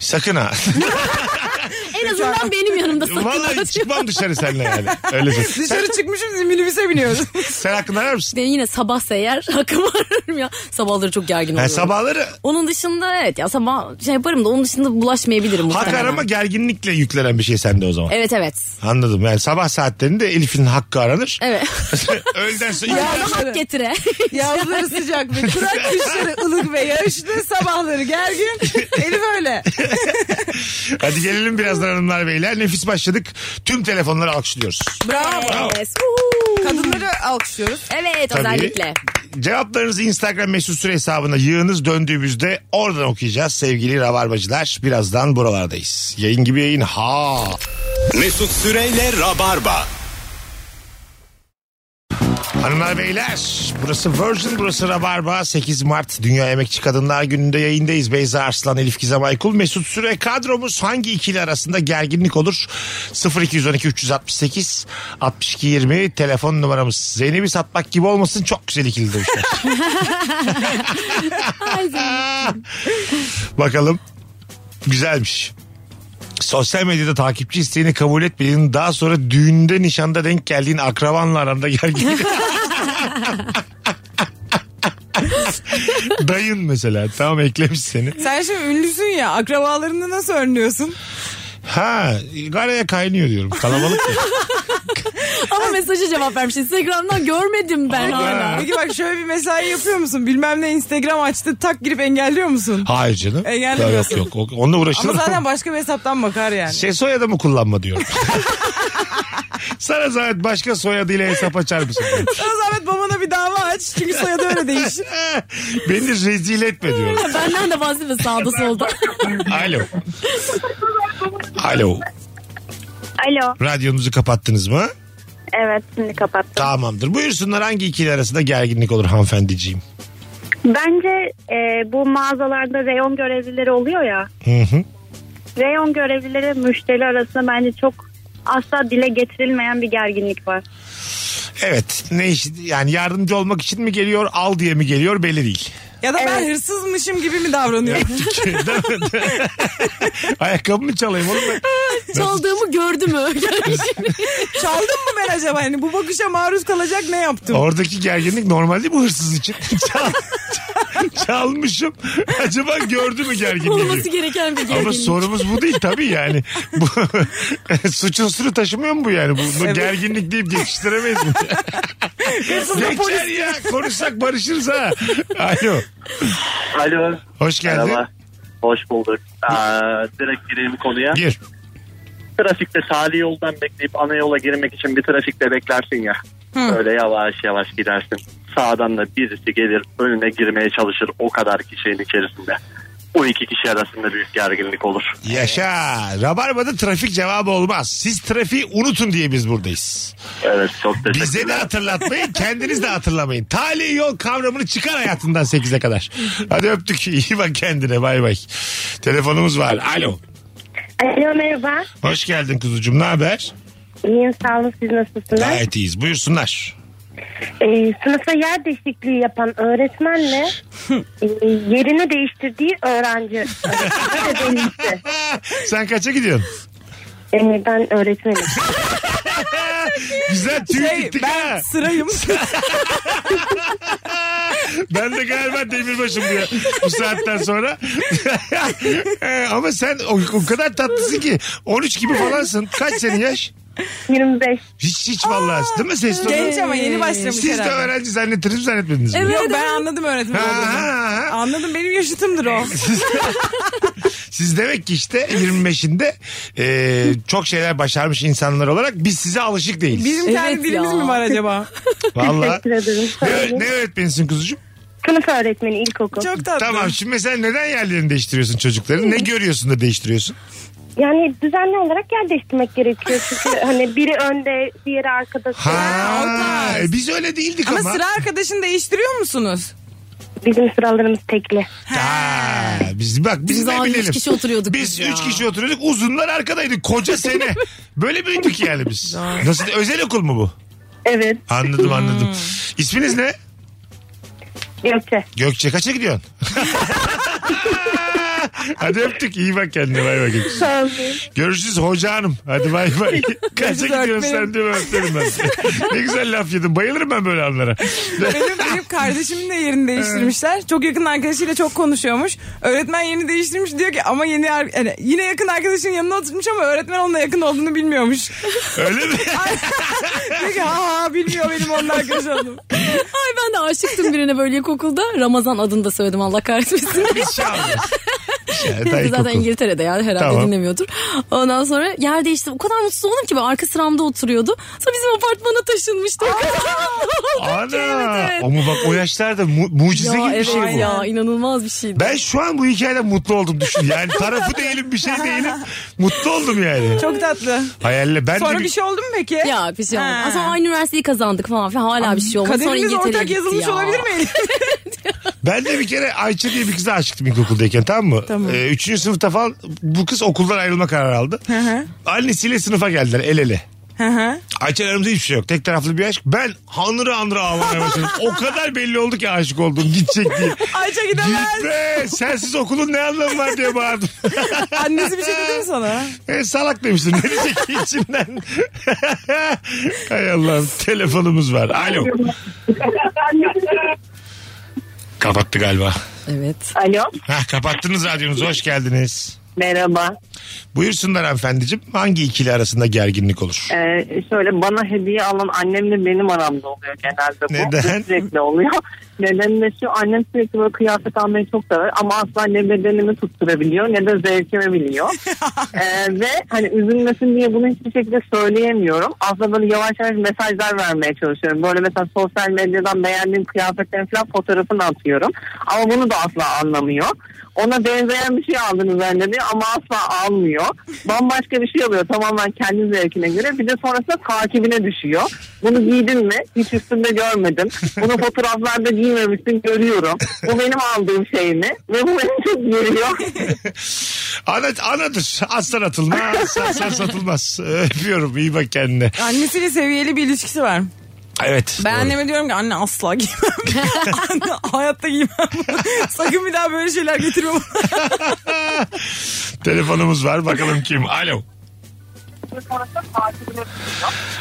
Sakın ha.
En azından benim yanımda sakın.
Vallahi çıkmam dışarı seninle yani. Öyle söyleyeyim. sen,
Dışarı çıkmışız minibüse biniyoruz.
sen hakkını arar mısın?
Ben yine sabah eğer hakkımı ararım ya. Sabahları çok gergin
Ha,
oluyorum.
sabahları
Onun dışında evet ya sabah şey yaparım da onun dışında bulaşmayabilirim.
hak
muhtemelen.
arama gerginlikle yüklenen bir şey sende o zaman.
Evet evet.
Anladım. Yani sabah saatlerinde Elif'in hakkı aranır.
Evet.
Öğleden sonra
Bana hak getire.
Yazları sıcak ve kurak kışları ılık ve yağışlı. Sabahları gergin. Elif öyle.
Hadi gelelim birazdan hanımlar beyler. Nefis başladık. Tüm telefonları alkışlıyoruz.
Bravo.
Evet. Uhu.
Kadınları alkışlıyoruz.
Evet
Tabii.
özellikle.
Cevaplarınızı Instagram mesut süre hesabına yığınız döndüğümüzde oradan okuyacağız sevgili rabarbacılar. Birazdan buralardayız. Yayın gibi yayın ha.
Mesut Süreyle Rabarba.
Hanımlar beyler burası Virgin burası Rabarba 8 Mart Dünya Emekçi Kadınlar Günü'nde yayındayız. Beyza Arslan, Elif Gizem Aykul, Mesut Süre kadromuz hangi ikili arasında gerginlik olur? 0212 368 62 20 telefon numaramız. Zeynep'i satmak gibi olmasın çok güzel ikili demişler. Bakalım. Güzelmiş. Sosyal medyada takipçi isteğini kabul etmeyin. Daha sonra düğünde nişanda denk geldiğin akrabanla aranda gerginlik. Dayın mesela. Tamam eklemiş seni.
Sen şimdi ünlüsün ya. Akrabalarını nasıl önlüyorsun?
Ha garaya kaynıyor diyorum. Kalabalık ya.
Ama mesaja cevap vermiş. Instagram'dan görmedim ben hala.
Peki bak şöyle bir mesai yapıyor musun? Bilmem ne Instagram açtı tak girip engelliyor musun?
Hayır canım.
Engellemiyorsun.
Yok yok. Onunla uğraşılır.
E, Ama
mı?
zaten başka bir hesaptan bakar yani.
Şey soyadı mı kullanma diyorum. Sana zahmet başka soyadıyla hesap açar mısın?
Sana zahmet babana bir dava aç. Çünkü soyadı öyle değişir.
Beni rezil etme diyorum.
Benden de bahsetme sağda solda.
Alo. Alo.
Alo.
Radyonuzu kapattınız mı?
Evet şimdi kapattım.
Tamamdır. Buyursunlar hangi ikili arasında gerginlik olur hanımefendiciğim?
Bence e, bu mağazalarda reyon görevlileri oluyor ya.
Hı hı.
Reyon görevlileri müşteri arasında bence çok asla dile getirilmeyen bir gerginlik var.
Evet. Ne iş, yani yardımcı olmak için mi geliyor, al diye mi geliyor belli değil.
Ya da ben
Evet.
hırsızmışım gibi mi davranıyorum?
Değil mi? Ayakkabımı çalayım oğlum ben.
Çaldığımı gördü mü?
Çaldım mı ben acaba? Hani bu bakışa maruz kalacak ne yaptım?
Oradaki gerginlik normal değil mi hırsız için? Çal- çalmışım. Acaba gördü mü gerginliği?
Olması gereken bir
Ama
gerginlik.
sorumuz bu değil tabii yani. Bu, suç unsuru taşımıyor mu bu yani? Bu, bu
Evet.
gerginlik deyip geçiştiremeyiz mi?
Hırsız da polis.
Geçer ya konuşsak barışırız ha. Alo.
Alo.
Hoş geldin.
Merhaba. Hoş bulduk. Aa, direkt gireyim konuya.
Gir.
Trafikte sali yoldan bekleyip ana yola girmek için bir trafikte beklersin ya. Öyle yavaş yavaş gidersin. Sağdan da birisi gelir önüne girmeye çalışır o kadar kişinin içerisinde. O iki kişi arasında büyük gerginlik olur.
Yaşa. Rabarba'da trafik cevabı olmaz. Siz trafiği unutun diye biz buradayız.
Evet çok teşekkür
Bize de hatırlatmayın, kendiniz de hatırlamayın. Tali yol kavramını çıkar hayatından 8'e kadar. Hadi öptük. İyi bak kendine. Bay bay. Telefonumuz var. Alo.
Alo merhaba.
Hoş geldin kuzucuğum. Ne haber?
İyiyim sağ olun siz nasılsınız?
Gayet iyiyiz. Buyursunlar.
Ee, sınıfta yer değişikliği yapan öğretmenle e, yerini değiştirdiği öğrenci. Öğretmen de değişti.
Sen kaça gidiyorsun?
Ee, ben öğretmenim.
Güzel tüy
Şey,
gittik
ben
ha.
sırayım.
Ben de galiba demirbaşım diyor bu saatten sonra. Ee, Ama sen o, o kadar tatlısın ki 13 gibi falansın. Kaç senin yaş?
25.
Hiç hiç vallahi değil mi ses tonu?
Genç ama yeni başlamış
Siz de
herhalde.
öğrenci zannettiniz mi, zannetmediniz mi?
Yok ben anladım öğretmen
Ha,
olduğunu.
ha, ha.
Anladım benim yaşıtımdır o.
Siz demek ki işte 25'inde e, çok şeyler başarmış insanlar olarak biz size alışık değiliz.
Bizim
Evet
kendi dilimiz
ya.
mi var acaba?
Vallahi.
Teşekkür ederim. Sağ
Ne,
olun.
ne öğretmenisin kuzucuğum?
Sınıf öğretmeni ilkokul.
Çok tatlı.
Tamam şimdi mesela neden yerlerini değiştiriyorsun çocukların? Ne görüyorsun da değiştiriyorsun?
Yani düzenli olarak yer değiştirmek gerekiyor. Çünkü hani biri önde, diğeri arkada.
Ha, e, biz öyle değildik ama.
Ama sıra arkadaşını değiştiriyor musunuz?
Bizim sıralarımız tekli.
Ha, biz bak biz,
Biz
ne
abi üç
bilelim.
kişi oturuyorduk
Biz
biz ya.
üç kişi oturuyorduk uzunlar arkadaydık koca sene. Böyle büyüdük yani biz. Nasıl özel okul mu bu?
Evet.
Hmm.
Anladım anladım. İsminiz ne?
Gökçe.
Gökçe kaça gidiyorsun? Hadi öptük iyi bak kendine bay bay Gökçe.
Sağ olun.
Görüşürüz hoca hanım. Hadi bay bay. Kaça gidiyorsun sen diye öptüm ben. seni. ne güzel laf yedin. Bayılırım ben böyle anlara.
Benim, benim kardeşimin de yerini değiştirmişler. Çok yakın arkadaşıyla çok konuşuyormuş. Öğretmen yerini değiştirmiş diyor ki ama yeni ar- yani yine yakın arkadaşının yanına oturmuş ama öğretmen onunla yakın olduğunu bilmiyormuş.
Öyle mi?
diyor ki ha ha bilmiyor benim onunla arkadaş oldum.
Ay ben de aşıktım birine böyle ilkokulda. Ramazan adını da söyledim Allah kahretmesin.
Bir şey olmaz. Bir şey, daha
Zaten
ilkokul.
İngiltere'de yani herhalde
Tamam.
dinlemiyordur. Ondan sonra yer değişti. O kadar mutsuz oldum ki ben arka sıramda oturuyordu. Sonra bizim apartmana taşınmıştı. O kadar mutlu oldum ki,
Ana.
evet, evet.
Ama bak o yaşlarda mu- mucize
Ya
gibi bir
evet
şey bu.
ya inanılmaz bir şeydi.
Ben şu an bu hikayeden mutlu oldum düşün. Yani tarafı değilim bir şey değilim. Mutlu oldum yani.
Çok tatlı.
Hayalle ben de
Sonra
bir-
bir şey oldu mu peki?
Ya bir şey olmadı.
Ha.
Aslında aynı üniversiteyi kazandık falan filan. Hala bir şey olmadı. Sonra
Kaderimiz
İngiltere'ye
ortak
gitti
yazılmış
ya.
olabilir mi?
Ben de bir kere Ayça diye bir kıza aşıktım ilkokuldayken tamam mı?
Tamam.
Ee, üçüncü sınıfta falan bu kız okuldan ayrılma kararı aldı. Annesiyle sınıfa geldiler el ele.
Hı hı.
Ayça'nın aramızda hiçbir şey yok. Tek taraflı bir aşk. Ben hanırı hanırı ağlamaya başladım. o kadar belli oldu ki aşık oldum gidecek diye.
Ayça gidemez.
Gitme sensiz okulun ne anlamı var diye bağırdım.
Annesi bir şey dedi mi sana?
E, salak demiştim. Ne diyecek ki içimden? Hay Allah'ım telefonumuz var. Alo. Kapattı galiba.
Evet.
Alo.
Heh, kapattınız radyonuzu. Hoş geldiniz.
Merhaba.
Buyursunlar hanımefendiciğim. Hangi ikili arasında gerginlik olur?
Ee, şöyle bana hediye alan annemle benim aramda oluyor genelde bu.
Neden?
Sürekli oluyor. Neden de şu annem sürekli böyle kıyafet almayı çok sever ama asla ne bedenimi tutturabiliyor ne de zevkimi biliyor. Ee, ve hani üzülmesin diye bunu hiçbir şekilde söyleyemiyorum. Aslında böyle yavaş yavaş mesajlar vermeye çalışıyorum. Böyle mesela sosyal medyadan beğendiğim kıyafetlerin falan fotoğrafını atıyorum. Ama bunu da asla anlamıyor. Ona benzeyen bir şey aldığını zannediyor ama asla almıyor. Bambaşka bir şey oluyor tamamen kendi zevkine göre. Bir de sonrasında takibine düşüyor. Bunu giydin mi? Hiç üstünde görmedim. Bunu fotoğraflarda giymemişsin görüyorum. Bu benim aldığım şey mi? Ve bu beni çok geriyor.
Ana, anadır. Aslan atılmaz. Aslan satılmaz. Öpüyorum. İyi bak kendine.
Annesiyle seviyeli bir ilişkisi var.
Evet.
Ben
doğru.
anneme diyorum ki anne asla giymem. Anne, Hayatta giymem. Sakın bir daha böyle şeyler getirme bana.
Telefonumuz var. Bakalım kim? Alo.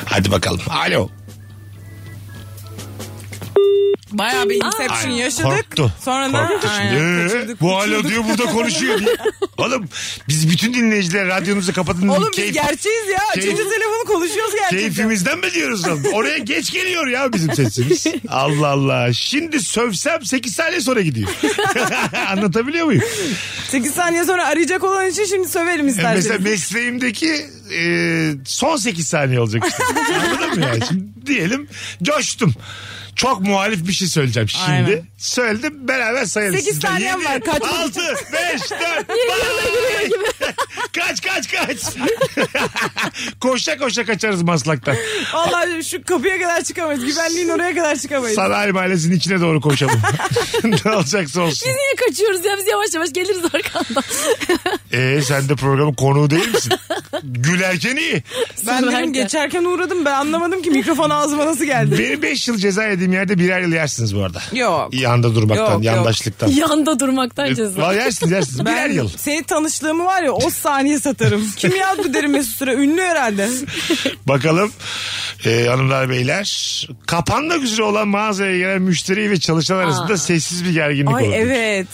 Hadi bakalım. Alo.
Bayağı bir inception
Ay,
yaşadık.
Korktu.
Sonra da
Korktu şimdi.
aynen,
Ee,
kaçırdık,
bu alo
uçurduk.
diyor burada konuşuyor diye. Oğlum biz bütün dinleyiciler radyonuzu kapatın.
Oğlum biz
Keyif-
gerçeğiz ya.
keyif-
Açınca telefonu konuşuyoruz gerçekten.
Keyfimizden mi diyoruz oğlum? Oraya geç geliyor ya bizim sesimiz. Allah Allah. Şimdi sövsem 8 saniye sonra gidiyor. Anlatabiliyor muyum?
8 saniye sonra arayacak olan için şimdi söverim
E, Mesela
isterseniz.
mesleğimdeki e, son 8 saniye olacak işte. Anladın mı yani? Şimdi diyelim coştum. Çok muhalif bir şey söyleyeceğim şimdi.
Aynen.
Söyledim beraber sayalım.
Sekiz
sizden.
saniyem
Yedi,
var, kaç?
Altı, beş, dört, bay! kaç kaç kaç. koşa koşa kaçarız maslaktan.
Vallahi şu kapıya kadar çıkamayız. Güvenliğin oraya kadar çıkamayız.
Sanayi mahallesinin içine doğru koşalım. ne olacaksa olsun.
Biz niye kaçıyoruz ya biz yavaş yavaş geliriz arkandan.
Ee, sen de programın konuğu değil misin? Gülerken iyi.
ben dedim
Sürerken.
geçerken uğradım. Ben anlamadım ki mikrofon ağzıma nasıl geldi.
Benim 5 yıl ceza yediğim yerde birer yıl yersiniz bu arada.
Yok.
Yanda durmaktan,
Yok, yok.
yandaşlıktan.
Yanda durmaktan ceza.
Vallahi yersiniz yersiniz.
Ben
Birer yıl.
Senin tanıştığımı var ya o saniye satarım. Kim ya bu derim Mesut Süre? Ünlü herhalde.
Bakalım e, hanımlar beyler. Kapanmak üzere olan mağazaya gelen müşteri ve çalışan arasında sessiz bir gerginlik
Ay
olur.
evet.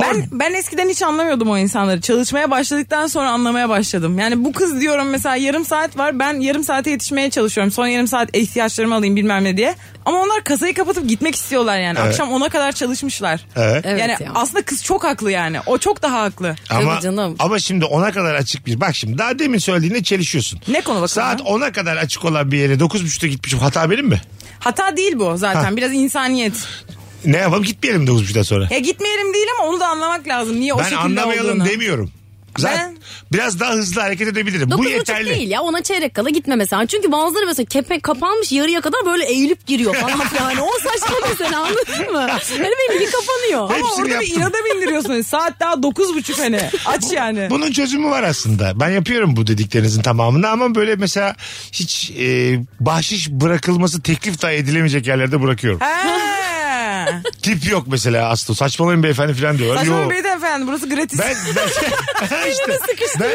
Ben,
Abi-
ben eskiden hiç anlamıyordum o insanları. Çalışmaya başladıktan sonra anlamaya başladım. Yani bu kız diyorum mesela yarım saat var. Ben yarım saate yetişmeye çalışıyorum. Son yarım saat ihtiyaçlarımı alayım bilmem ne diye. Ama onlar kasayı kapatıp gitmek istiyorlar yani.
Evet.
Akşam ona kadar çalışmışlar.
Evet.
Evet
yani
ya.
aslında kız çok haklı yani. O çok daha haklı.
Ama,
Tabii canım.
ama şimdi ona kadar açık bir bak şimdi daha demin söylediğinde çelişiyorsun.
Ne konu bakın
Saat
ya?
10'a kadar açık olan bir yere 9.30'da gitmişim hata benim mi?
Hata değil bu zaten. Biraz insaniyet.
Ne yapalım gitmeyelim 9.30'dan sonra.
Ya gitmeyelim değil ama onu da anlamak lazım. Niye E, o
ben
şekilde
anlamayalım
olduğunu.
demiyorum. Zaten
Ben-
biraz daha hızlı hareket edebilirim. Bu
Dokuz buçuk
yeterli.
değil ya ona çeyrek kala gitme mesela. Çünkü bazıları mesela kepe kapanmış yarıya kadar böyle eğilip giriyor falan yani. O saçma mesela anladın mı? Yani benimki kapanıyor.
Ama
Hepsini
orada
yaptım.
bir inada bindiriyorsun. hani. Saat daha dokuz buçuk hani. Aç yani.
Bunun çözümü var aslında. Ben yapıyorum bu dediklerinizin tamamını ama böyle mesela hiç e, bahşiş bırakılması teklif dahi edilemeyecek yerlerde bırakıyorum.
He.
Tip yok mesela Aslı. Saçmalamayın beyefendi falan diyorlar.
Saçma
Yo.
beyefendi burası gratis.
Ben, ben, işte, ben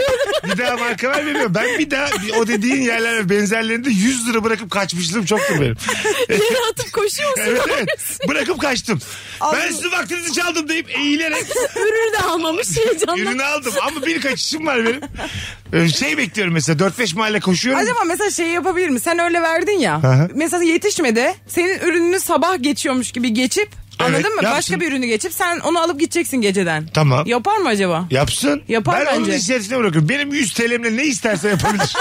bir daha marka vermiyorum. Ben bir daha bir- o dediğin yerler ve benzerlerinde 100 lira bırakıp kaçmışlığım çoktur benim.
Yere atıp koşuyor musun?
Evet, evet. Bırakıp kaçtım.
Aldım.
Ben sizin vaktinizi çaldım deyip eğilerek
Ürünü de almamış heyecandan.
ürünü aldım. Ama bir kaçışım var benim. Ee, Şey bekliyorum mesela 4-5 mahalle koşuyorum.
Acaba mesela şey yapabilir mi? Sen öyle verdin ya.
hı.
Mesela yetişmedi. Senin ürününü sabah geçiyormuş gibi geçip
Evet,
anladın mı?
yapsın.
Başka bir ürünü geçip sen onu alıp gideceksin geceden.
Tamam.
Yapar mı acaba?
Yapsın.
Yapar
ben onun
bence.
inisiyatifine bırakıyorum. Benim 100 TL'mle ne isterse yapabilir.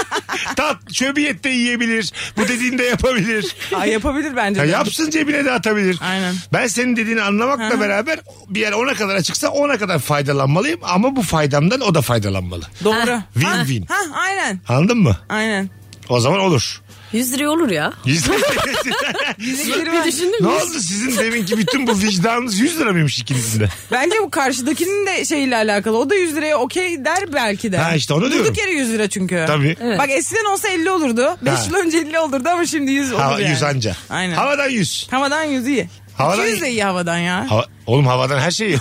Tat, çöbiyet de yiyebilir. Bu dediğini de yapabilir.
Aa, yapabilir bence.
Ya
de.
yapsın cebine de atabilir.
Aynen.
Ben senin dediğini anlamakla beraber bir yer ona kadar açıksa ona kadar faydalanmalıyım. Ama bu faydamdan o da faydalanmalı.
Doğru.
Win
Ha,
win.
Ha, aynen.
Anladın mı?
Aynen.
O zaman olur.
100 liraya olur ya.
Yüz-
Bir düşündün
ne
mü?
oldu sizin deminki bütün bu vicdanınız 100 lira mıymış ikinizin de?
Bence bu karşıdakinin de şeyle alakalı. O da 100 liraya okey der belki de.
Ha, işte onu
Durduk
diyorum.
yere 100 lira çünkü.
Tabii. Evet.
Bak eskiden olsa 50 olurdu. 5
Ha.
yıl önce 50 olurdu ama şimdi 100 olur
Ha,
yani.
100 anca.
Aynen.
Havadan 100.
Havadan 100 iyi.
Havadan
200 de iyi havadan ya.
Hava- oğlum havadan her şey iyi.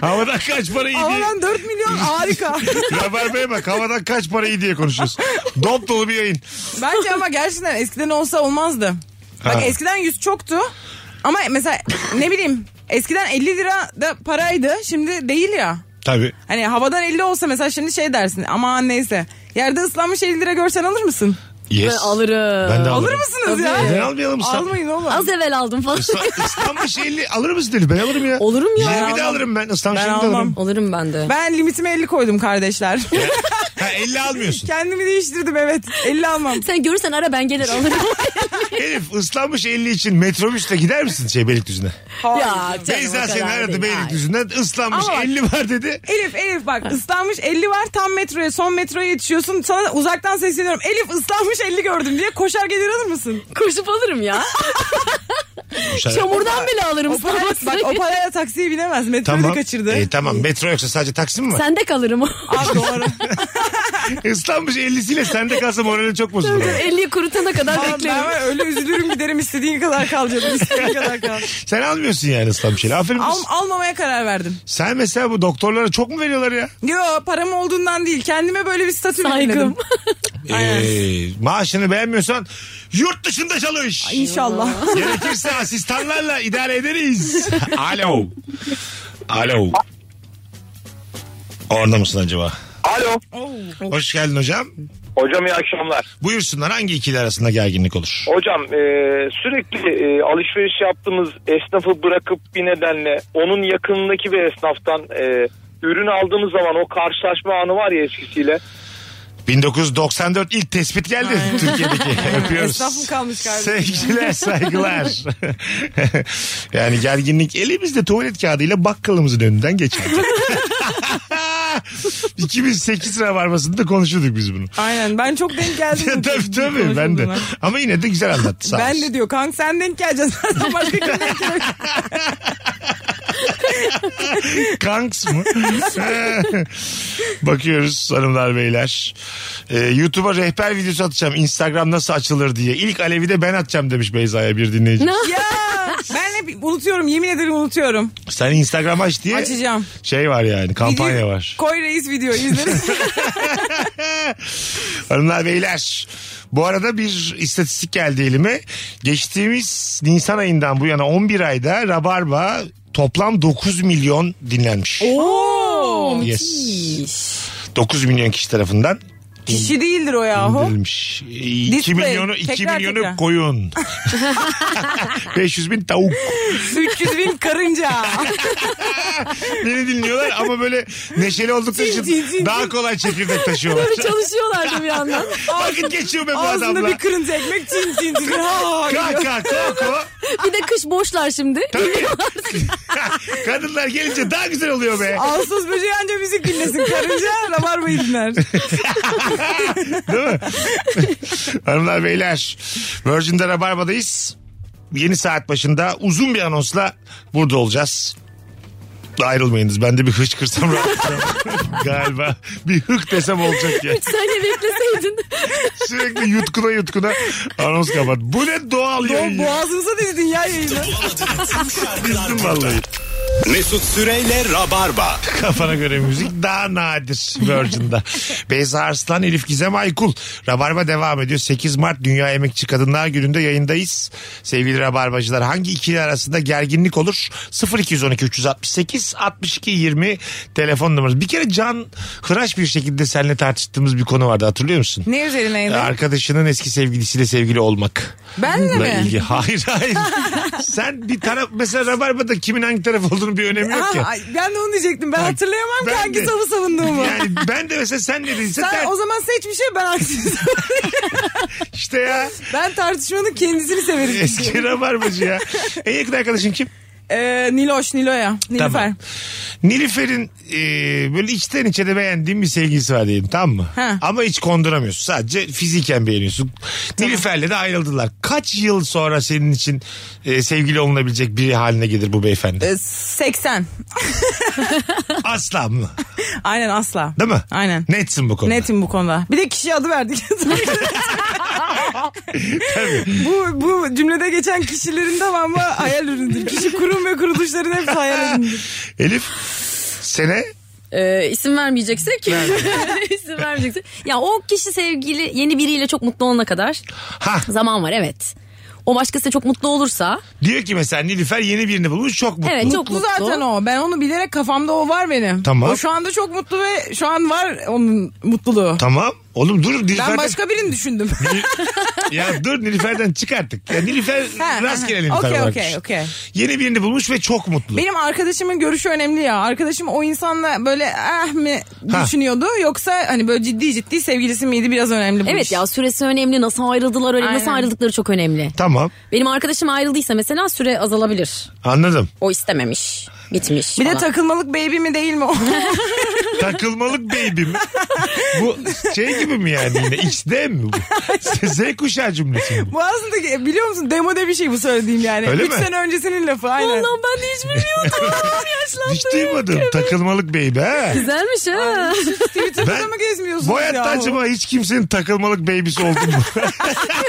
havadan kaç para iyi diye.
Havadan 4 milyon harika.
Rabarbaya bak havadan kaç para iyi diye konuşuyoruz. Dop dolu bir yayın.
Bence ama gerçekten eskiden olsa olmazdı. Bak
Ha.
eskiden 100 çoktu. Ama mesela ne bileyim eskiden 50 lira da paraydı. Şimdi değil ya.
Tabii.
Hani havadan 50 olsa mesela şimdi şey dersin. Aman neyse. Yerde ıslanmış 50 lira görsen alır mısın?
Yes.
Ben alırım.
Ben de alırım.
Alır mısınız
Tabii.
ya?
Neden almayalım? Sa-
Almayın oğlum.
Az evvel aldım falan.
Isla- İstanbul şeyli alır mısın dedi. Ben alırım ya.
Olurum ya.
20 de
Ben
alırım ben. İstanbul
Ben
şeyli de
almam.
alırım.
Olurum ben de.
Ben limitime 50 koydum kardeşler.
Ha 50 almıyorsun.
Kendimi değiştirdim evet. 50 almam.
Sen görürsen ara ben gelir alırım.
Elif ıslanmış 50 için metrobüsle gider misin şey Beylikdüzü'ne?
Hayır.
canım, o
Beyza
kadar
seni aradı
değil.
Beylikdüzü'nden ıslanmış
Ama bak-
50 var dedi.
Elif Elif bak ıslanmış 50 var tam metroya son metroya yetişiyorsun sana uzaktan sesleniyorum Elif ıslanmış 50 gördüm diye koşar gelir alır mısın?
Hayır. Koşup alırım ya. Çamurdan bile alırım.
O paraya, bak o paraya taksiye binemez metroyu da kaçırdı.
E, tamam metro yoksa sadece taksi mi var?
Sende kalırım.
Aa, doğru.
Islanmış 50'siyle sende kalsa morali çok bozulur.
50'yi kurutana kadar
Tamam, ben
beklerim.
var ya, öyle üzülürüm giderim istediğin kadar kalacağım istediğin kadar kal.
Sen almıyorsun yani ıslanmış şeyle. Aferin
Al,
kız.
almamaya karar verdim.
Sen mesela bu doktorlara çok mu veriyorlar ya?
Yo param olduğundan değil kendime böyle bir statü
Saygım.
belirledim. Aynen.
Ee, maaşını beğenmiyorsan yurt dışında çalış.
İnşallah.
Gerekirse asistanlarla idare ederiz. Alo. Alo. Orada mısın acaba? Oh.
Alo.
Hoş geldin hocam.
Hocam iyi akşamlar.
Buyursunlar hangi ikili arasında gerginlik olur?
Hocam e, sürekli e, alışveriş yaptığımız esnafı bırakıp bir nedenle onun yakınındaki bir esnaftan e, ürün aldığımız zaman o karşılaşma anı var ya eskisiyle.
1994 ilk tespit geldi Türkiye'deki. Öpüyoruz.
Esnaf mı kalmış galiba?
Sevgiler saygılar. yani gerginlik elimizde tuvalet kağıdıyla bakkalımızın önünden geçer. 2008 rabarmasında konuşuyorduk biz bunu.
Aynen ben çok denk geldim.
tabii tabii ben de.
Konuşulduğuna.
Ama yine de güzel anlattı sağ
Ben
olsun.
de diyor kanka sen denk geleceksin. Sen başka kim denk gelecek?
Kanks mı? Bakıyoruz hanımlar beyler. Ee, YouTube'a rehber videosu atacağım. Instagram nasıl açılır diye. İlk Alevi de ben atacağım demiş Beyza'ya bir dinleyici.
Ya ben hep unutuyorum yemin ederim unutuyorum.
Sen Instagram aç diye
Açacağım.
şey var yani kampanya
Video-
var.
Koy reis video izleriz.
Hanımlar beyler bu arada bir istatistik geldi elime. Geçtiğimiz Nisan ayından bu yana 11 ayda Rabarba toplam 9 milyon dinlenmiş.
Oo.
Yes. 9 milyon kişi tarafından
Kişi değildir o yahu.
indirilmiş. 2
Display.
milyonu 2
Tekrar
milyonu
tekrar.
koyun. 500 bin tavuk.
300 bin karınca.
Beni dinliyorlar ama böyle neşeli oldukları
Cin, cin,
için
cin.
daha kolay çekirdek taşıyorlar.
Çalışıyorlardı bir yandan.
Vakit geçiyor be bu
Ağzında
adamla.
bir kırınca ekmek cin cin cin. Ha,
Kalk kalk kalk.
Bir de kış boşlar şimdi.
Kadınlar gelince daha güzel oluyor be.
Ağustos böceği anca müzik dinlesin. Karınca rabarbayı dinler.
Değil mi? Hanımlar beyler Virgin'de Rabarba'dayız. Yeni saat başında uzun bir anonsla burada olacağız. Ayrılmayınız. Ben de bir hıçkırsam rahatlayacağım. Galiba bir hık desem olacak ya.
Sen de bekleseydin.
Sürekli yutkuna yutkuna anons kapat. Bu ne doğal yayın.
Doğum
ya.
boğazımıza dizdin ya yayını.
Kızdım vallahi.
Mesut Süreyle Rabarba.
Kafana göre müzik daha nadir Virgin'da. Beyza Arslan, Elif Gizem Aykul. Rabarba devam ediyor. 8 Mart Dünya Emekçi Kadınlar Günü'nde yayındayız. Sevgili Rabarbacılar hangi ikili arasında gerginlik olur? 0212 368 62 20 telefon numarası. Bir kere can hıraş bir şekilde seninle tartıştığımız bir konu vardı hatırlıyor musun?
Ne üzerineydi?
Arkadaşının eski sevgilisiyle sevgili olmak.
Benle
La
mi?
ilgi. Hayır hayır. Sen bir taraf mesela Rabarba'da kimin hangi taraf olduğunu bir önemi yok ya.
Ha, ay, ben de onu diyecektim. Ben hatırlayamam
ben
ki hangi
de.
savı savunduğumu.
Yani ben de mesela sen ne dediyse
Sen
ter-
o zaman seç bir şey ben haksız.
işte ya.
ben tartışmanın kendisini severim.
Eski rabarbacı ya. En yakın arkadaşın kim?
Ee, Niloş, Nilo'ya. Nilüfer.
Nilüfer'in e, böyle içten içe de beğendiğin bir sevgilisi var diyelim tamam mı?
Ha.
Ama hiç konduramıyorsun. Sadece fiziken beğeniyorsun. Nilüfer'le de ayrıldılar. Kaç yıl sonra senin için e, sevgili olunabilecek biri haline gelir bu beyefendi?
Ee, 80.
Asla mı?
Aynen asla.
Değil mi?
Aynen.
Netsin bu konuda.
Netim bu konuda. Bir de kişi adı verdik. bu, bu cümlede geçen kişilerin tamamı hayal ürünüdür. Kişi kurum ve kuruluşların hepsi hayal ürünüdür.
Elif sene
Ee, isim vermeyeceksek. isim vermeyeceksek. Ya o kişi sevgili yeni biriyle çok mutlu olana kadar
ha
zaman var evet. O başkası çok mutlu olursa.
diyor ki mesela Nilüfer yeni birini bulmuş çok mutlu.
Evet çok
Mutlu
mutlu.
zaten o. Ben onu bilerek kafamda o var benim.
Tamam.
O şu anda çok mutlu ve şu an var onun mutluluğu.
Tamam. Oğlum dur Nilüfer'den
Ben başka birini düşündüm.
ya dur Nilüfer'den çık artık. Ya Nilüfer
Ha,
rastgele
ha.
Nilüfer
Okey,
varmış.
okey, okey.
Yeni birini bulmuş ve çok mutlu.
Benim arkadaşımın görüşü önemli ya. Arkadaşım o insanla böyle ah mi
Ha.
düşünüyordu yoksa hani böyle ciddi ciddi sevgilisi miydi biraz önemli bu
Evet
iş.
ya süresi önemli nasıl ayrıldılar öyle nasıl
Aynen.
ayrıldıkları çok önemli.
Tamam
Benim arkadaşım ayrıldıysa mesela süre azalabilir.
anladım.
O istememiş. Bitmiş.
Bir de
falan.
takılmalık baby mi değil mi?
Takılmalık baby mi? Bu şey gibi mi yani yine? XD mi bu? Z kuşağı cümlesi mi bu?
bu aslında ki- biliyor musun demode bir şey bu söylediğim yani.
Öyle
Üç
mi?
sene öncesinin lafı aynen.
Allah'ım ben de şey hiç bilmiyordum. Yaşlandım.
Hiç duymadım. Takılmalık baby ha.
Güzelmiş ha.
Twitter'da
Ben-
mı gezmiyorsunuz
Bu hayatta
ya?
acaba hiç kimsenin takılmalık baby'si oldu mu?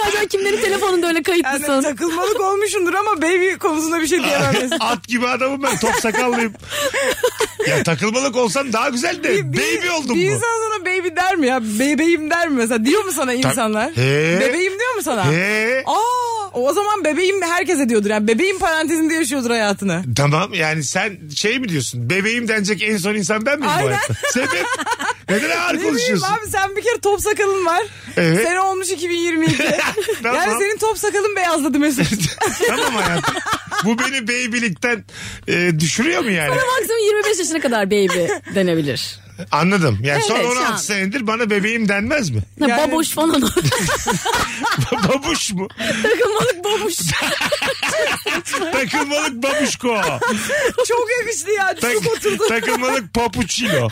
Acaba kimlerin telefonunda öyle
Yani
kayıtlısın?
takılmalık olmuşundur ama baby konusunda bir şey diyemem. mesela.
At gibi adamım ben top sakallıyım. Ya takılmalık olsam daha güzel de
Bir-
baby oldum
Bir
mu?
insan sana baby der mi ya? Bebeğim der mi mesela? Diyor mu sana insanlar?
He.
Bebeğim diyor mu sana?
He.
Aa, o zaman bebeğim de herkese diyordur. Yani bebeğim parantezinde yaşıyordur hayatını.
Tamam yani sen şey mi diyorsun? Bebeğim denecek en son insan ben miyim bu
Aynen.
hayatta? Sebep? Neden ağır
Ne bileyim
konuşuyorsun? E?
abi sen bir kere top sakalın var.
Evet.
Sene olmuş 2022.
Tamam.
Yani senin top sakalın beyazladı Mesut.
tamam hayatım. Bu beni beybilikten e, düşürüyor mu yani?
Maksimum 25 yaşına kadar baby denebilir.
Anladım. Yani son
Evet, şu
16
an.
senedir bana bebeğim denmez mi?
Ne,
Yani-
Baboş falan.
babuş mu?
Takılmalık baboş.
Takılmalık babuşko.
Çok yakıştı ya.
Tak,
Çok oturdu.
takılmalık papuçino.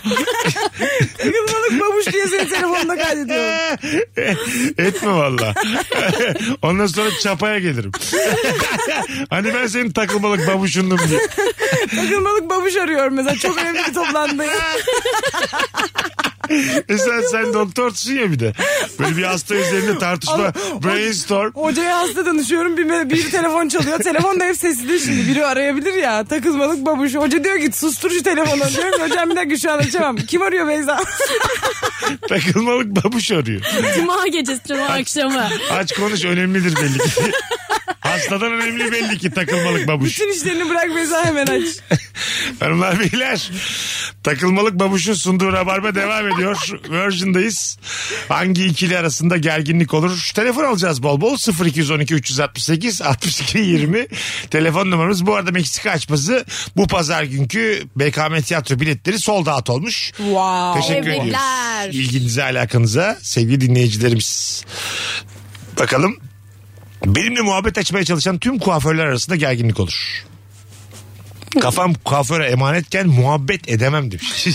Takılmalık babuş diye seni telefonda kaydediyorum.
Etme valla. Ondan sonra çapaya gelirim. hani ben senin takılmalık babuşundum diye.
Takılmalık babuş arıyorum mesela. Çok önemli bir toplantıya.
Mesela sen doktorsun ya bir de. Böyle bir hasta üzerinde tartışma,
Ama-
brainstorm.
Hocaya hasta danışıyorum. Bir, bir telefon çalıyor. Telefon da hep sesli şimdi. Biri arayabilir ya. Takılmalık babuş. Hoca diyor ki sustur şu telefonu. Diyorum ki, hocam bir dakika şu an açamam. Kim arıyor Beyza?
Takılmalık babuş arıyor.
Cuma gecesi, cuma akşamı.
Aç konuş önemlidir belli ki. Hastadan önemli belli ki takılmalık babuş.
Bütün işlerini bırak Beyza hemen aç.
Hanımlar beyler takılmalık babuşun sunduğu rabarba devam ediyor. Virgin'dayız. Hangi ikili arasında gerginlik olur? Şu telefon alacağız bol bol 0212 368 62 20 telefon numaramız. Bu arada Meksika açması bu pazar günkü BKM tiyatro biletleri sold out olmuş.
Wow.
Teşekkür
Tebrikler.
ediyoruz. İlginize alakanıza sevgili dinleyicilerimiz. Bakalım benimle muhabbet açmaya çalışan tüm kuaförler arasında gerginlik olur. Kafam kuaföre emanetken muhabbet edemem demiş.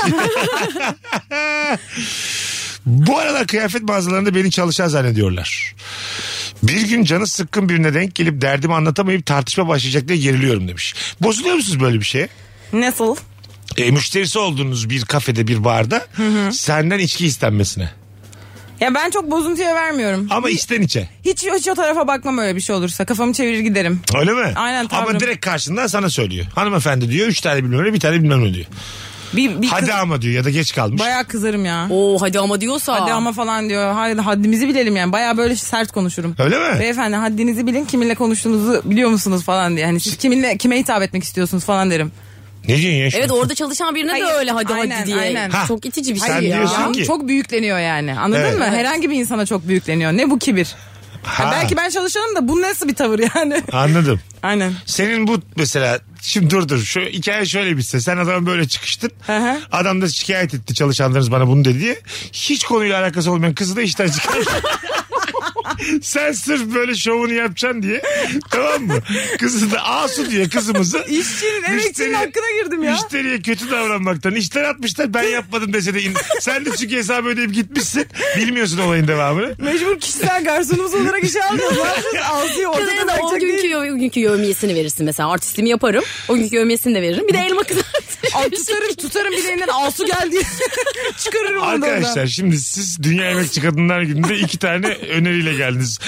Bu aralar kıyafet mağazalarında beni çalışan zannediyorlar. Bir gün canı sıkkın birine denk gelip derdimi anlatamayıp tartışma başlayacak diye geriliyorum demiş. Bozuluyor musunuz böyle bir şeye?
Nasıl?
e, müşterisi olduğunuz bir kafede bir barda senden içki istenmesine.
Ya ben çok bozuntuya vermiyorum.
Ama içten içe.
Hiç, hiç o tarafa bakmam öyle bir şey olursa. Kafamı çevirir giderim.
Öyle mi?
Aynen, tavrım.
Ama direkt karşından sana söylüyor. Hanımefendi diyor üç tane bilmem ne bir tane bilmem ne diyor.
Bir, bir
Hadi
kız,
ama diyor ya da geç kalmış.
bayağı kızarım ya.
Oo hadi ama diyorsa.
Hadi ama falan diyor. Hadi haddimizi bilelim yani. Bayağı böyle sert konuşurum.
Öyle mi?
Beyefendi haddinizi bilin kiminle konuştuğunuzu biliyor musunuz falan diye. Hani siz kiminle kime hitap etmek istiyorsunuz falan derim.
Ne diyorsun ya? şimdi?
Evet orada çalışan birine
Hayır,
de öyle hadi
aynen,
hadi diye.
aynen.
Ha,
Çok itici bir şey
sen
ya.
diyorsun ki-
Çok büyükleniyor yani. Anladın
Evet.
mı? Herhangi bir insana çok büyükleniyor. Ne bu kibir?
Ha,
Ya belki ben çalışanım da bu nasıl bir tavır yani?
Anladım.
Aynen.
Senin bu mesela şimdi dur dur şu hikaye şöyle bitse sen adamı böyle çıkıştın
Hı hı.
adam da şikayet etti çalışanlarınız bana bunu dedi diye hiç konuyla alakası olmayan kızı da işten çıkar. sen sırf böyle şovunu yapacaksın diye tamam mı kızı da asu diye kızımızı
İşçinin, emekçinin
müşteriye-
hakkına girdim ya.
müşteriye kötü davranmaktan işten atmışlar ben yapmadım dese de in- sen de çünkü hesabı ödeyip gitmişsin bilmiyorsun olayın devamını
Mecbur kişisel garsonumuz olarak işe alacağız. Ne yapacağız? Altıya ortada
Kızına da o
bırakacak
günkü,
değil.
yo- o günkü yövmiyesini verirsin mesela. Artistliğimi yaparım. O günkü yövmiyesini de veririm. Bir de elma kızartırım.
Ay tutarım tutarım bileğinden Asu geldi. Çıkarırım onu da oradan.
Arkadaşlar şimdi siz Dünya Emekçi Kadınlar Günü'nde iki tane öneriyle geldiniz.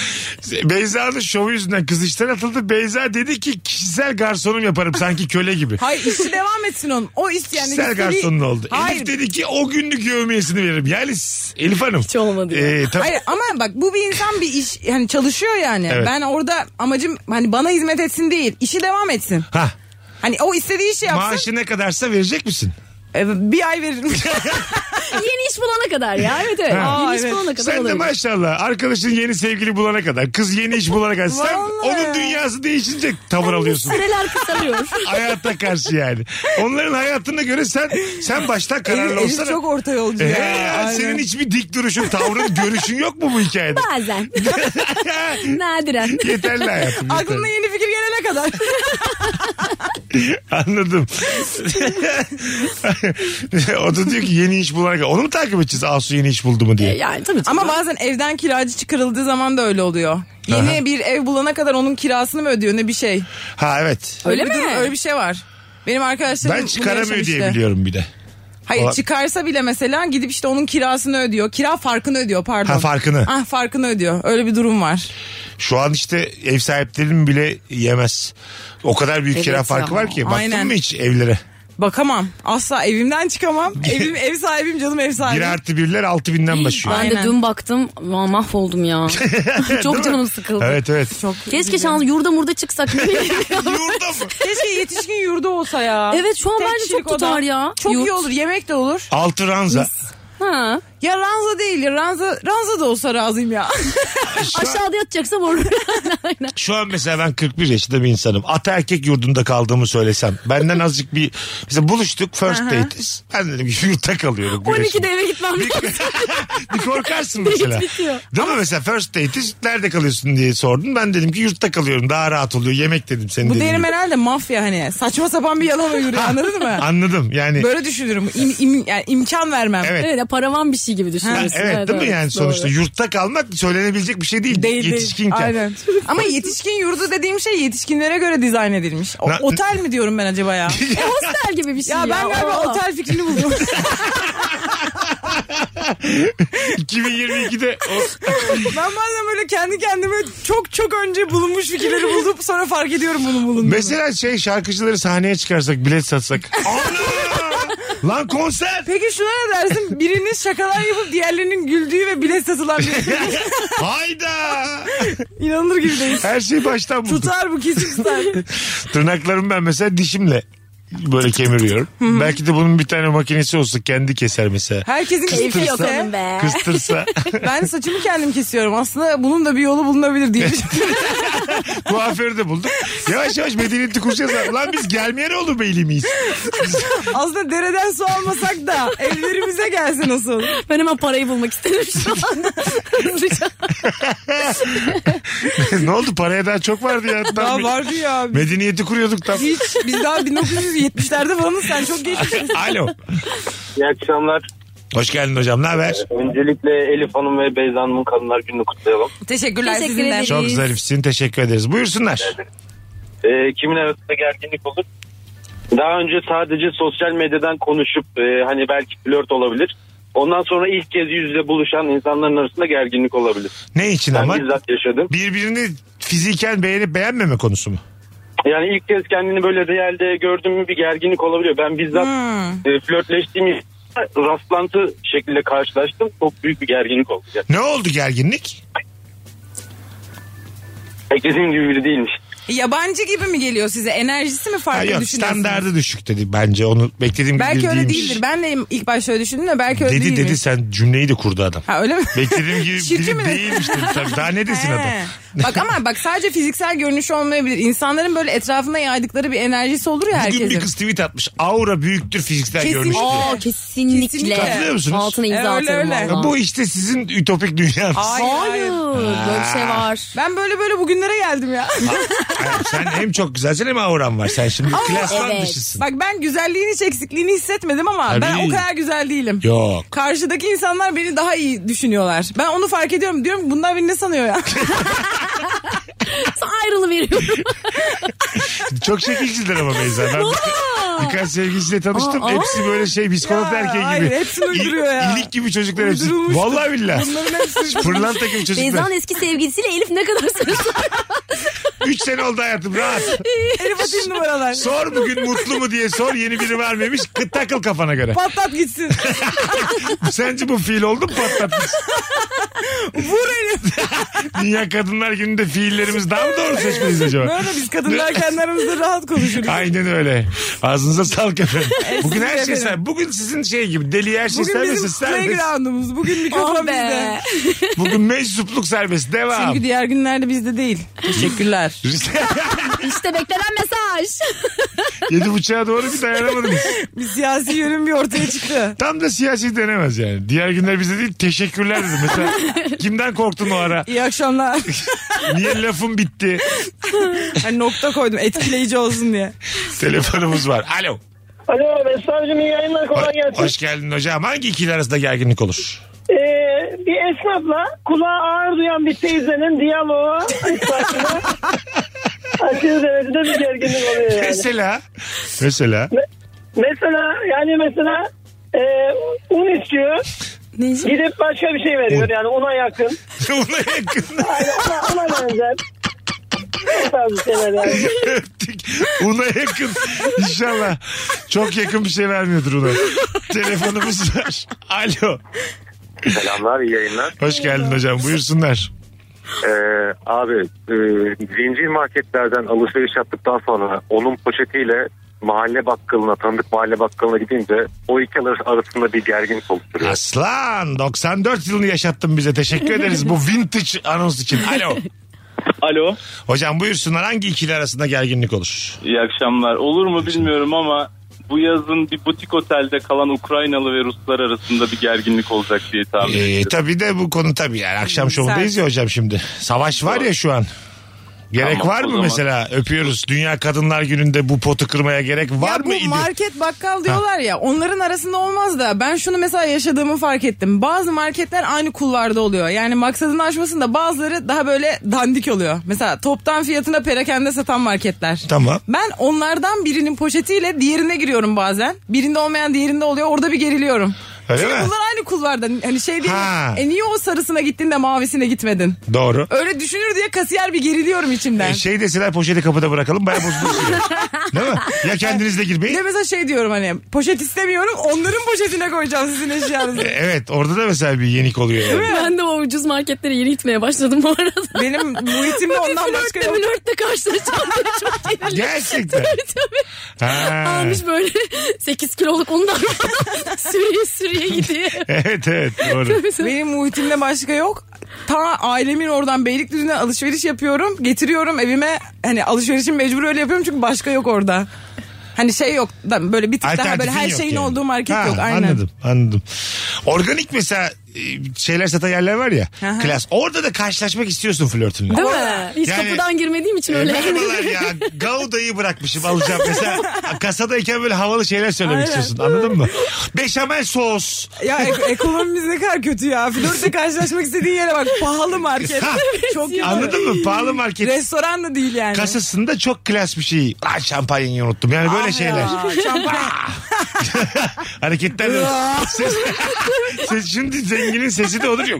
Beyza'nın şovu yüzünden kız işten atıldı. Beyza dedi ki kişisel garsonum yaparım sanki köle gibi.
Hayır işi devam etsin onun. O isteyen de
kişisel
istediği-
garsonun oldu.
Hayır.
Elif dedi ki o günlük yövmiyesini veririm. Yani s- Elif Hanım. Hiç
olmadı ya.
tabii,
Hayır ama bak bu bir insan bir iş yani çalışıyor yani.
Evet.
Ben orada amacım hani bana hizmet etsin değil. işi devam etsin.
Ha,
Hani o istediği işi yapsın.
maaşı ne kadarsa verecek misin?
E, bir ay veririm.
Yeni iş bulana kadar ya. Evet evet.
Ha.
Yeni
Aa,
iş
evet.
bulana kadar
Sen de
olabilir.
maşallah arkadaşın yeni sevgili bulana kadar kız yeni iş bulana kadar sen
Vallahi.
onun dünyası değişince tavır alıyorsun.
Seneler kısalıyor.
hayata karşı yani. Onların hayatına göre sen sen baştan
Elif,
kararlı olsana.
Elif çok orta yolcu.
Ee,
ya. Aynen.
senin hiçbir dik duruşun, tavrın, görüşün yok mu bu hikayede?
Bazen. Nadiren.
Yeterli hayatım. yeterli.
Aklına yeni fikir gelene kadar.
Anladım. o da diyor ki yeni iş bulana kadar. Onu mu takip edeceğiz Asu yeni iş buldu mu diye?
Yani tabii.
Ama bazen evden kiracı çıkarıldığı zaman da öyle oluyor. Yeni bir ev bulana kadar onun kirasını mı ödüyor ne bir şey.
Ha evet.
Öyle
bir
mi?
durum- öyle bir şey var. Benim arkadaşlarım
Ben
bunu
çıkaramıyor
yaşamıştı.
diye biliyorum bir de.
Hayır
Ola-
çıkarsa bile mesela gidip işte onun kirasını ödüyor. Kira farkını ödüyor pardon.
Ha, farkını.
Ah farkını ödüyor. Öyle bir durum var.
Şu an işte ev sahiplerinin bile yemez. O kadar büyük
Evet
kira
ya.
farkı var ki. Baktın
Aynen.
mı hiç evlere?
Bakamam. Asla evimden çıkamam. Evim ev sahibim canım ev
Bir
sahibim.
artı birler altı binden başlıyor.
Ben de
Aynen.
dün baktım vah, mahvoldum ya.
Değil mi?
Çok canım sıkıldı.
Evet evet.
Çok
Keşke şans yurda murda çıksak.
Yurda mı?
Keşke yetişkin yurdu olsa ya.
Evet, şu an bence
kişilik
çok tutar
oda.
ya.
Çok
Yurt.
iyi olur. Yemek de olur.
Altı ranza.
ha.
Ya ranza değil ya ranza, ranza da olsa razıyım ya.
Aşağıda yatacaksam orada.
Şu an mesela ben 41 yaşında bir insanım. Ata erkek yurdunda kaldığımı söylesem. Benden azıcık bir... Mesela buluştuk first date'iz. Ben dedim ki yurtta kalıyorum. bir
12'de
yaşında.
eve gitmem lazım.
bir korkarsın mesela.
bitiyor.
Değil mi mesela first date'iz nerede kalıyorsun diye sordun. Ben dedim ki yurtta kalıyorum daha rahat oluyor. Yemek dedim senin
Bu
dediğin
derim
gibi.
herhalde mafya hani. Saçma sapan bir yalan uyduruyor anladın mı?
Anladım yani.
Böyle düşünürüm. İm, im- yani imkan vermem.
Evet.
Evet ya paravan bir şey gibi
Ha,
düşünüyorsun.
evet, değil mi yani
doğru.
sonuçta yurtta kalmak söylenebilecek bir şey değil.
Değil, değil.
Yetişkinken.
Aynen. Ama yetişkin yurdu dediğim şey yetişkinlere göre dizayn edilmiş. O-
Na-
otel mi diyorum ben acaba ya?
E, hostel gibi bir şey ya.
ya ben galiba
Oo.
otel fikrini buldum.
2022'de o-
ben bazen böyle kendi kendime çok çok önce bulunmuş fikirleri bulup sonra fark ediyorum bunun bulunduğunu.
mesela şey şarkıcıları sahneye çıkarsak bilet satsak. Ana! Lan konser.
Peki şuna ne dersin? Birinin şakalar yapıp diğerlerinin güldüğü ve bile satılan bir
Hayda.
İnanılır gibi değil.
Her şeyi baştan bulduk.
Tutar bu kesin tutar.
Tırnaklarımı ben mesela dişimle böyle kemiriyorum. Belki de bunun bir tane makinesi olsa kendi keser mesela.
Herkesin
Keyfi
keyfi
yok onun
yoksa.
be.
Kıstırsa.
Ben saçımı kendim kesiyorum. Aslında bunun da bir yolu bulunabilir diye.
Kuaförü de bulduk. Yavaş yavaş medeniyeti kuracağız. Lan biz gelmeyene olur beyli miyiz?
Aslında dereden su almasak da evlerimize gelse nasıl?
Ben hemen parayı bulmak istedim şu an. Hızlıca.
ne oldu paraya daha çok vardı ya. Tam
Daha
bir-
vardı ya.
Medeniyeti kuruyorduk tam.
Hiç. Biz daha 1970'lerde falanız. Sen çok geçmişsin.
Alo.
İyi akşamlar.
Hoş geldin hocam ne haber?
Öncelikle Elif Hanım ve Beyza Hanım'ın kadınlar gününü kutlayalım.
Teşekkürler
Teşekkür
sizin de.
ederim.
Çok
Biz-
zarifsin teşekkür ederiz. Buyursunlar.
Ee, kimin arasında gerginlik olur? Daha önce sadece sosyal medyadan konuşup e, hani belki flört olabilir. Ondan sonra ilk kez yüz yüze buluşan insanların arasında gerginlik olabilir.
Ne için
Ben
ama?
bizzat yaşadım.
Birbirini fiziken beğenip beğenmeme konusu mu?
Yani ilk kez kendini böyle realde gördüm mü bir gerginlik olabiliyor. Ben bizzat
Hmm.
e, flörtleştiğim insanla rastlantı şekilde karşılaştım. Çok büyük bir gerginlik oldu. Yani.
Ne oldu gerginlik?
Beklediğim gibi biri değilmiş.
Yabancı gibi mi geliyor size? Enerjisi mi
Ha,
farklı
yok
düşünüyorsunuz?
standardı düşük dedi bence onu beklediğim gibi
Belki öyle
değilmiş.
değildir. Ben de ilk başta öyle düşündüm de belki öyle
Dedi
değilmiş.
dedi sen cümleyi de kurdu adam.
Ha öyle mi?
Beklediğim gibi
Çirkin
biri
mi?
değilmiş dedi. Tabii, Daha ne desin
He.
adam?
bak ama bak sadece fiziksel görünüş olmayabilir. İnsanların böyle etrafına yaydıkları bir enerjisi olur ya herkesin.
Bugün bir kız tweet atmış. Aura büyüktür fiziksel
Kesin.
görünüş. diye.
Aa kesinlikle.
Kesinlikle.
Katılıyor musunuz?
Altına imza
E, öyle,
atarım
öyle.
valla.
Bu işte sizin ütopik dünyanız.
Hayır,
Hayır.
hayır.
Böyle bir şey var.
Ben böyle böyle bugünlere geldim ya.
Ha, sen hem çok güzelsin hem auran var. Sen şimdi klasman
Evet.
dışısın.
Bak ben güzelliğini hiç eksikliğini hissetmedim ama
Tabii.
ben o kadar güzel değilim.
Yok.
Karşıdaki insanlar beni daha iyi düşünüyorlar. Ben onu fark ediyorum. Diyorum ki bunlar beni ne sanıyor ya?
Ayrılı veriyorum.
Çok şekilciler ama Beyza. Ben bir- birkaç sevgilisiyle tanıştım.
Aa,
hepsi böyle şey biskolat
Ya,
erkeği
hayır,
gibi.
hepsini uyduruyor ya.
İlik gibi çocuklar hepsi.
Uydurulmuştur.
Vallahi billahi.
Bunların hepsi.
Fırlanta gibi çocuklar.
Beyza'nın eski sevgilisiyle Elif ne kadar sarılsın.
3 sene oldu hayatım rahat.
Elif atayım numaralar.
Sor bugün mutlu mu diye sor yeni biri vermemiş. Kı- Takıl kafana göre.
Patlat gitsin.
Sence bu fiil oldu mu patlatmış?
Vur Elif.
Dünya Kadınlar Günü'nde fiillerimiz daha mı doğru seçmeliyiz
Ne
acaba?
oldu biz kadınlar kendi aramızda rahat konuşuruz.
Aynen öyle. Ağzınıza sağlık efendim. Bugün her şey
efendim.
ser. Bugün sizin şey gibi deli her şey
Bugün bizim
serbest. serbest.
playground'umuz. Bugün
Oh
mikrofon bizde.
be.
Bugün meczupluk serbest. Devam.
Çünkü diğer günlerde bizde değil. Teşekkürler.
İşte beklenen mesaj.
Yedi buçuğa doğru bir dayanamadınız.
Bir siyasi yönüm bir ortaya çıktı.
Tam da siyasi denemez yani. Diğer günler bize değil teşekkürler dedim. Mesela kimden korktun o ara?
İyi akşamlar.
Niye lafım bitti?
Hani nokta koydum etkileyici olsun diye.
Telefonumuz var. Alo.
Alo Mesut'cum iyi yayınlar kolay
Ho-
gelsin.
Hoş geldin hocam. Hangi ikili arasında gerginlik olur?
Ee, bir esnafla kulağı ağır duyan bir teyzenin diyaloğu esnafına aşırı derecede bir gerginlik oluyor yani.
Mesela. Mesela.
Mesela yani mesela e, un istiyor gidip başka bir şey veriyor
Un.
yani una yakın.
Buna yakın.
Yani ona, ona benzer. O tarz bir şeyler yani.
Öptük. Una yakın. İnşallah. Çok yakın bir şey vermiyordur ona. Telefonumuz var. Alo.
Selamlar, iyi yayınlar.
Hoş geldin hocam. Buyursunlar.
Ee, abi, e, zincir marketlerden alışveriş yaptıktan sonra onun poşetiyle mahalle bakkalına tanıdık mahalle bakkalına gidince o iki arasında bir gerginlik oluşturuyor.
Aslan 94 yılını yaşattın bize. Teşekkür ederiz bu vintage anons için. Alo.
Alo,
Hocam buyursunlar hangi ikili arasında gerginlik olur?
iyi akşamlar. Olur mu bilmiyorum ama bu yazın bir butik otelde kalan Ukraynalı ve Ruslar arasında bir gerginlik olacak diye tahmin
Ee,
ediyorum.
tabii de bu konu tabii yani akşam şovundayız ya hocam şimdi. Savaş var ya şu an. Gerek
Tamam,
var
o
mı
zaman.
mesela öpüyoruz Dünya Kadınlar Günü'nde bu potu kırmaya gerek var
ya
mı?
bu
idi?
market bakkal diyorlar ya onların arasında olmaz da ben şunu mesela yaşadığımı fark ettim. Bazı marketler aynı kulvarda oluyor. Yani maksadını aşmasın da bazıları daha böyle dandik oluyor. Mesela toptan fiyatına perakende satan marketler.
Tamam.
Ben onlardan birinin poşetiyle diğerine giriyorum bazen. Birinde olmayan diğerinde oluyor. Orada bir geriliyorum.
Öyle
Çünkü
mi?
bunlar aynı kulvarda. Hani şey değil.
Ha.
E niye o sarısına gittin de mavisine gitmedin?
Doğru.
Öyle düşünür diye kasiyer bir geriliyorum içimden.
Ee, şey deseler poşeti kapıda bırakalım baya bozulursun. Değil mi? Ya kendinizle
Bir
girmeyin.
de mesela şey diyorum hani poşet istemiyorum onların poşetine koyacağım sizin
Ee,
eşyanızı.
Evet orada da mesela bir yenik oluyor. yani.
Ben de o ucuz marketlere yeni gitmeye başladım bu arada.
Benim muhitimde ondan başka
Flörtle
yok.
flörtle karşılaşacağım diye çok gerildim.
Gerçekten.
Tabii, tabii.
Ha.
Almış böyle 8 kiloluk undan sürüye sürüye gidiyor.
Evet evet doğru.
Benim muhitimde başka yok. Ta ailemin oradan Beylikdüzü'ne alışveriş yapıyorum. Getiriyorum evime hani alışverişimi mecbur öyle yapıyorum çünkü başka yok orada. Hani şey yok da böyle bir tık daha böyle
Alternatifin
her
yok
şeyin
yani.
olduğu market
Ha,
yok. Aynen.
Anladım anladım. Organik mesela e, şeyler satan yerler var ya.
Aha.
klas. Orada da karşılaşmak istiyorsun flörtünle.
Değil mi? Hiç
Yani-
kapıdan girmediğim için
E,
öyle.
Merhabalar ya. Gauda'yı bırakmışım alacağım. Mesela kasadayken böyle havalı şeyler söylemek istiyorsun. Anladın mı? Beşamel sos.
Ya ek- ekonomimiz ne kadar kötü ya. Flörtle karşılaşmak istediğin yere bak pahalı market.
Ha,
Çok kötü.
Anladın mı? Pahalı market.
Restoran da değil yani.
Kasasında çok klas bir şey. Lan şampanyayı unuttum. Yani böyle
Ah
şeyler.
ya, şampanya.
Hareketler de. Ses, ses, şimdi zenginin sesi de olur ya.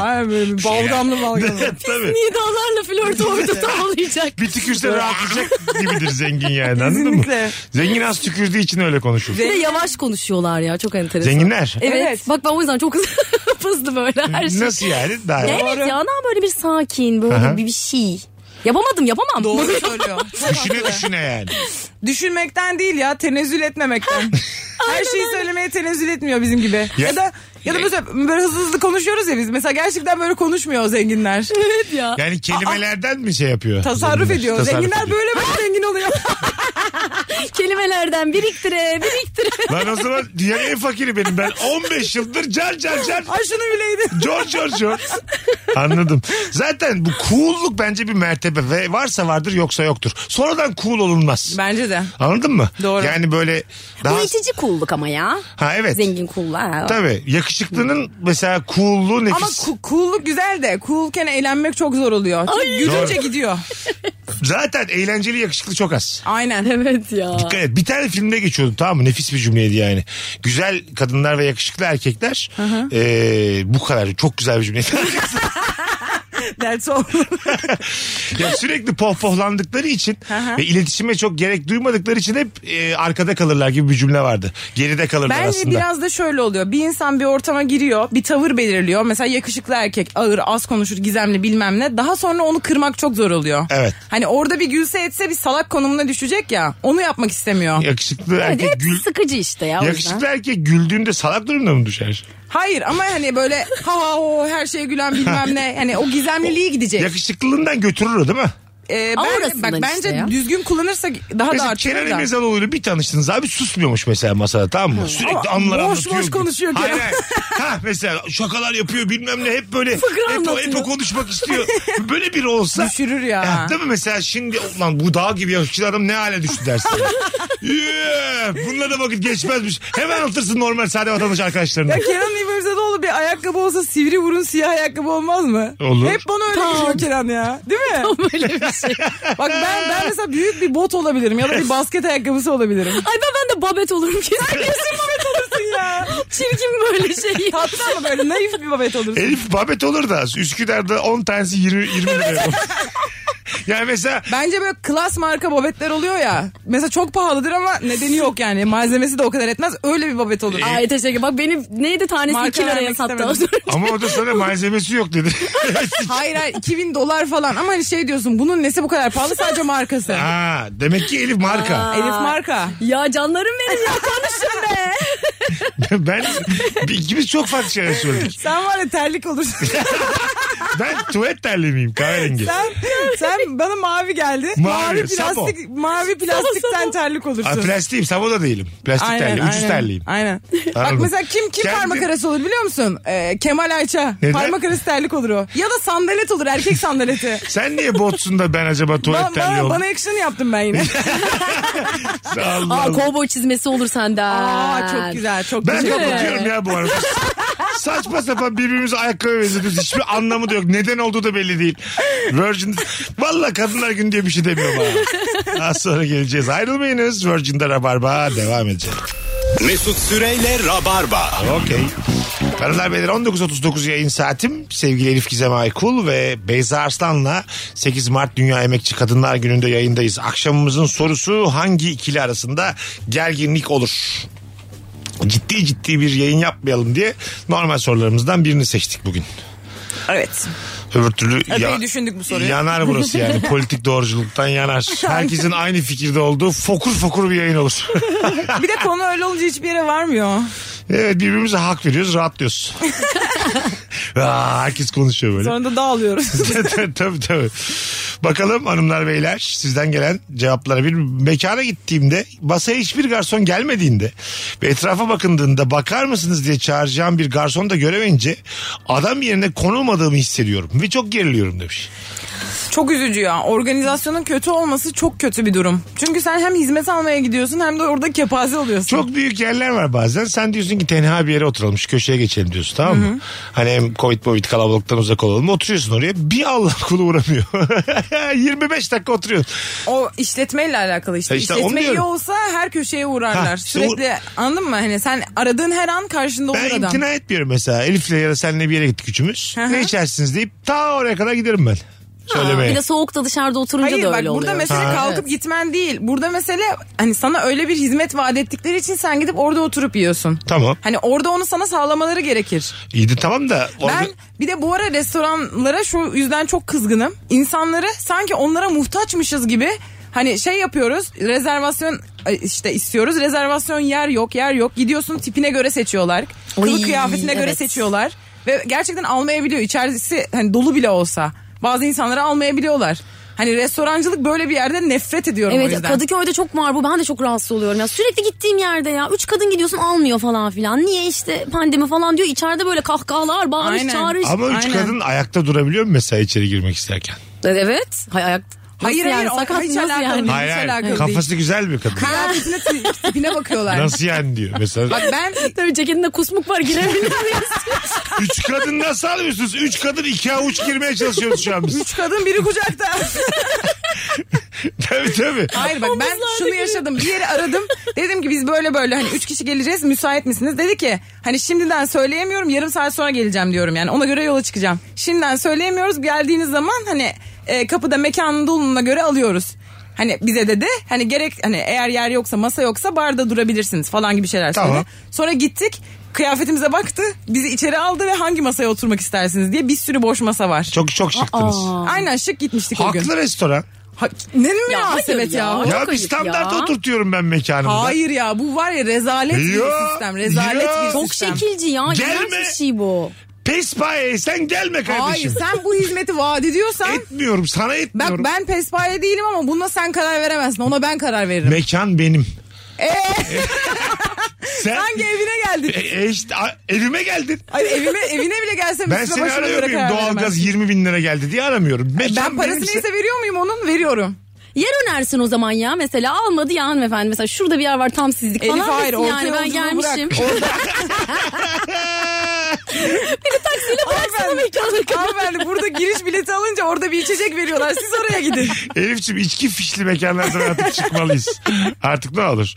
Ay böyle bir balgamlı balgamlı.
Tabii.
Nidalarla flört orada tavlayacak.
Bir tükürse rahatlayacak gibidir zengin yani anladın mı?
Kesinlikle.
Zengin az tükürdüğü için öyle konuşur.
Bir de yavaş konuşuyorlar ya çok enteresan.
Zenginler.
Evet.
Evet.
Bak ben o yüzden çok hızlı böyle her şey.
Nasıl yani? Daha
Evet ya daha böyle bir sakin böyle
Aha.
bir, bir şey. Yapamadım yapamam.
Doğru söylüyor.
Düşüne düşüne yani.
Düşünmekten değil ya tenezzül etmemekten. Her şeyi söylemeye tenezzül etmiyor bizim gibi.
Ya-
Ya, da ya da mesela böyle hızlı hızlı konuşuyoruz ya biz. Mesela gerçekten böyle konuşmuyor o zenginler.
Evet ya.
Yani kelimelerden mi şey yapıyor?
Tasarruf
zenginler?
ediyor.
Tasarruf
zenginler
ediyor.
böyle böyle zengin oluyor.
Kelimelerden biriktire biriktire.
Lan o zaman dünyanın en fakiri benim. Ben 15 yıldır car car car.
Ay şunu bileydim.
George George George. Anladım. Zaten bu cool'luk bence bir mertebe ve varsa vardır yoksa yoktur. Sonradan cool olunmaz.
Bence de.
Anladın mı?
Doğru.
Yani böyle daha...
Bu itici kulluk ama ya.
Ha evet.
Zengin kullar.
Tabii. Yakışıklının mesela cool'luğu nefis.
Ama ku- cool'luk güzel de cool'ken eğlenmek çok zor oluyor. Çünkü gülünce
Doğru.
gidiyor.
Zaten eğlenceli yakışıklı çok az.
Aynen.
Evet ya.
Dikkat et. Bir tane filmde geçiyordu tamam mı? Nefis bir cümleydi yani. Güzel kadınlar ve yakışıklı erkekler. Ee, bu kadar. Çok güzel bir cümleydi.
That's all.
ya sürekli pohpohlandıkları için ve iletişime çok gerek duymadıkları için hep e, arkada kalırlar gibi bir cümle vardı. Geride kalırlar
Bence
aslında.
biraz da şöyle oluyor. Bir insan bir ortama giriyor, bir tavır belirliyor. Mesela yakışıklı erkek, ağır, az konuşur, gizemli bilmem ne. Daha sonra onu kırmak çok zor oluyor.
Evet.
Hani orada bir gülse etse bir salak konumuna düşecek ya. Onu yapmak istemiyor.
Yakışıklı
Evet,
erkek
hep
gül...
sıkıcı işte ya. o yüzden.
Yakışıklı erkek güldüğünde salak durumda mı düşer?
Hayır ama hani böyle ha ha o her şeye gülen bilmem ne. Hani o gizemliliği gidecek.
Yakışıklılığından götürür o değil mi?
Ee, ben,
Aurasından
bak
işte
bence
ya.
düzgün kullanırsa daha da
Mesela
artıyor
Kenan
da.
İmirzalıoğlu'yla bir tanıştınız abi susmuyormuş mesela masada tamam mı? Sürekli
Ama
anlar
boş
anlatıyor.
boş konuşuyor
Hayır,
Kenan.
hayır. ha mesela şakalar yapıyor bilmem ne hep böyle hep, o,
anlatıyor.
hep o konuşmak istiyor. böyle biri olsa. Eh,
Düşürür ya.
Değil mi mesela şimdi ulan bu dağ gibi yakışıklı adam ne hale düştü dersin. yeah, bununla da vakit geçmezmiş. Hemen atırsın normal sade vatandaş arkadaşlarına.
Ya Kenan İmirzalıoğlu bir ayakkabı olsa sivri burun siyah ayakkabı olmaz mı?
Olur.
Hep bana öyle geliyor Kenan ya. Değil mi?
Böyle bir şey.
Bak ben, ben mesela büyük bir bot olabilirim ya da bir basket ayakkabısı olabilirim.
Ay ben, ben de babet olurum kesin.
Olursun ya.
Çirkin böyle şey.
Tatlı ama böyle naif bir babet olursun.
Elif Babet olur da Üsküdar'da 10 tanesi 20, 20 lira. Yani mesela
Bence böyle klas marka babetler oluyor ya. Mesela çok pahalıdır ama nedeni yok yani. Malzemesi de o kadar etmez. Öyle bir babet olur.
Ay teşekkür Bak benim neydi tanesi
Marka
2 liraya
vermek
sattı.
istemedim.
ama o da sana malzemesi yok dedi.
hayır hayır 2000 dolar falan ama hani şey diyorsun bunun nesi bu kadar pahalı sadece markası.
ha, demek ki Elif marka.
Elif marka.
ya canlarım benim ya konuşun be.
ben ikimiz çok farklı şeyler söyledik.
Sen var ya terlik olursun.
Ben tuvalet terli miyim kahverengi?
sen, sen bana mavi geldi.
Mavi, sapo.
plastik, mavi plastikten terlik olursun.
Ha, plastiğim sabo da değilim. Plastik terli. Ucuz
aynen.
terliyim.
Aynen. Bak
Anladım.
mesela kim kim
Kendi-
parmak arası olur biliyor musun? Ee, Kemal Ayça.
Neden?
Parmak arası terlik olur o. Ya da sandalet olur erkek sandaleti.
Sen niye botsun da ben acaba tuvalet
Ba-
terli
bana,
oldum?
bana action yaptım ben yine.
Allah
Aa
Allah.
kovboy çizmesi olur senden.
Aa çok güzel çok
Ben
güzel.
kapatıyorum ya bu arada. Saçma sapan birbirimize ayakkabı benzetiyoruz. Hiçbir anlamı da yok. Neden olduğu da belli değil. Virgin... Valla kadınlar günü diye bir şey demiyor bana. Az sonra geleceğiz. Ayrılmayınız. Virgin'de Rabarba devam edecek.
Mesut Süreyle Rabarba.
Okey. Hanımlar beyler 19.39 yayın saatim. Sevgili Elif Gizem Aykul ve Beyza Arslan'la 8 Mart Dünya Emekçi Kadınlar Günü'nde yayındayız. Akşamımızın sorusu hangi ikili arasında gerginlik olur? Ciddi ciddi bir yayın yapmayalım diye normal sorularımızdan birini seçtik bugün.
Evet.
Öbür türlü
Epey düşündük bu soruyu.
yanar burası yani politik doğruculuktan yanar. Herkesin aynı fikirde olduğu fokur fokur bir yayın olur.
Bir de konu öyle olunca hiçbir yere varmıyor.
Evet birbirimize hak veriyoruz rahatlıyoruz. Aa, herkes konuşuyor böyle.
Sonra da dağılıyoruz.
tabii tabii, tabii. Bakalım hanımlar beyler sizden gelen cevaplara bir mekana gittiğimde masaya hiçbir garson gelmediğinde ve etrafa bakındığında bakar mısınız diye çağıracağım bir garson da göremeyince adam yerine konulmadığımı hissediyorum ve çok geriliyorum demiş.
çok üzücü ya. Organizasyonun kötü olması çok kötü bir durum. Çünkü sen hem hizmet almaya gidiyorsun hem de orada kepaze oluyorsun.
Çok büyük yerler var bazen. Sen diyorsun ki tenha bir yere oturalım şu köşeye geçelim diyorsun tamam mı? Hani hem covid covid kalabalıktan uzak olalım. Oturuyorsun oraya bir Allah kulu uğramıyor. 25 dakika oturuyorsun.
O işletmeyle alakalı işte.
Ha işte onu
İşletme iyi
diyorum.
olsa her köşeye uğrarlar.
Ha, işte
Sürekli anladın mı? Hani sen aradığın her an karşında
Ben
olur adam.
imtina etmiyorum mesela. Elif'le ya da seninle bir yere gittik üçümüz.
Hı hı.
Ne içersiniz deyip ta oraya kadar giderim ben. Söylemeye.
Bir de soğukta dışarıda oturunca
Hayır
da
bak
öyle
burada
oluyor.
mesele
Ha.
kalkıp gitmen değil. Burada mesele hani sana öyle bir hizmet vaat ettikleri için sen gidip orada oturup yiyorsun.
Tamam.
Hani orada onu sana sağlamaları gerekir.
İyi de tamam da. orada-
Ben bir de bu ara restoranlara şu yüzden çok kızgınım. İnsanları sanki onlara muhtaçmışız gibi hani şey yapıyoruz rezervasyon e, işte istiyoruz rezervasyon yer yok yer yok gidiyorsun tipine göre seçiyorlar kılık
Oy,
kıyafetine göre
evet.
seçiyorlar ve gerçekten almayabiliyor içerisi hani dolu bile olsa bazı insanları almayabiliyorlar. Hani restorancılık böyle bir yerde nefret ediyorum o
Evet
yüzden.
Kadıköy'de çok var bu ben de çok rahatsız oluyorum ya sürekli gittiğim yerde ya üç kadın gidiyorsun almıyor falan filan niye işte pandemi falan diyor içeride böyle kahkahalar bağırış
Aynen.
çağırış.
Ama üç
Aynen.
kadın ayakta durabiliyor mu mesela içeri girmek isterken?
Evet hay ayak
Hayır,
Nasıl yani
hayır, o-
sakat
hiç
nasıl
alakalı
yani?
değil.
Hayır
hiç alakalı
hayır.
değil.
Kafası güzel bir kadın.
Kıyafetine ti- tipine bakıyorlar.
Nasıl yani diyor mesela.
Bak ben
Tabii ceketinde kusmuk var girebilir miyiz?
Üç kadın nasıl alıyorsunuz? Üç kadın iki avuç girmeye çalışıyoruz şu an biz.
üç kadın biri kucakta.
tabii tabii.
Hayır bak ben şunu yaşadım. Bir yeri aradım. Dedim ki biz böyle böyle hani üç kişi geleceğiz müsait misiniz? Dedi ki hani şimdiden söyleyemiyorum yarım saat sonra geleceğim diyorum yani. Ona göre yola çıkacağım. Şimdiden söyleyemiyoruz. Geldiğiniz zaman hani e, kapıda mekanın dolumuna göre alıyoruz. Hani bize dedi hani gerek hani eğer yer yoksa masa yoksa barda durabilirsiniz falan gibi şeyler söyledi.
Tamam.
Sonra gittik kıyafetimize baktı bizi içeri aldı ve hangi masaya oturmak istersiniz diye bir sürü boş masa var.
Çok çok şıktınız.
Aynen şık gitmiştik o gün.
Haklı restoran.
Ha, ne
hayır
münasebet ya.
ya.
ya.
Ya
ayıp
bir standart
ya.
oturtuyorum ben mekanımda.
Hayır ya bu var ya rezalet
Ya,
bir sistem. Rezalet
ya.
bir sistem.
Çok şekilci ya.
Gelme.
Gelme. Bir şey bu.
Pespaye sen gelme
şey
Hayır
kardeşim.
sen bu hizmeti vaat ediyorsan
Etmiyorum sana
bak
etmiyorum.
ben pespaye değilim ama buna sen karar veremezsin. Ona ben karar veririm.
Mekan benim. sen
Hangi evine geldik?
E, e işte, a- evime geldin.
Ay evime evine bile gelsem
Ben
üstüne
seni
başıma
aramıyor
göre
muyum?
karar
Doğalgaz
veremezsin.
20 bin lira geldi diye aramıyorum. Mekan
Ben parasını
benimse-
ise veriyor muyum onun? Veriyorum.
Yer önersin o zaman ya mesela almadı ya hanımefendi mesela şurada bir yer var tam sizlik
Elif
falan
hayır
desin
orta
yani ben
yolculuğu bırak.
gelmişim.
Orada-
Taksiyle bıraksana mekanı
Hanımefendi burada giriş bileti alınca orada bir içecek veriyorlar. Siz oraya gidin.
Elif'ciğim içki fişli mekanlardan artık çıkmalıyız. Artık ne olur.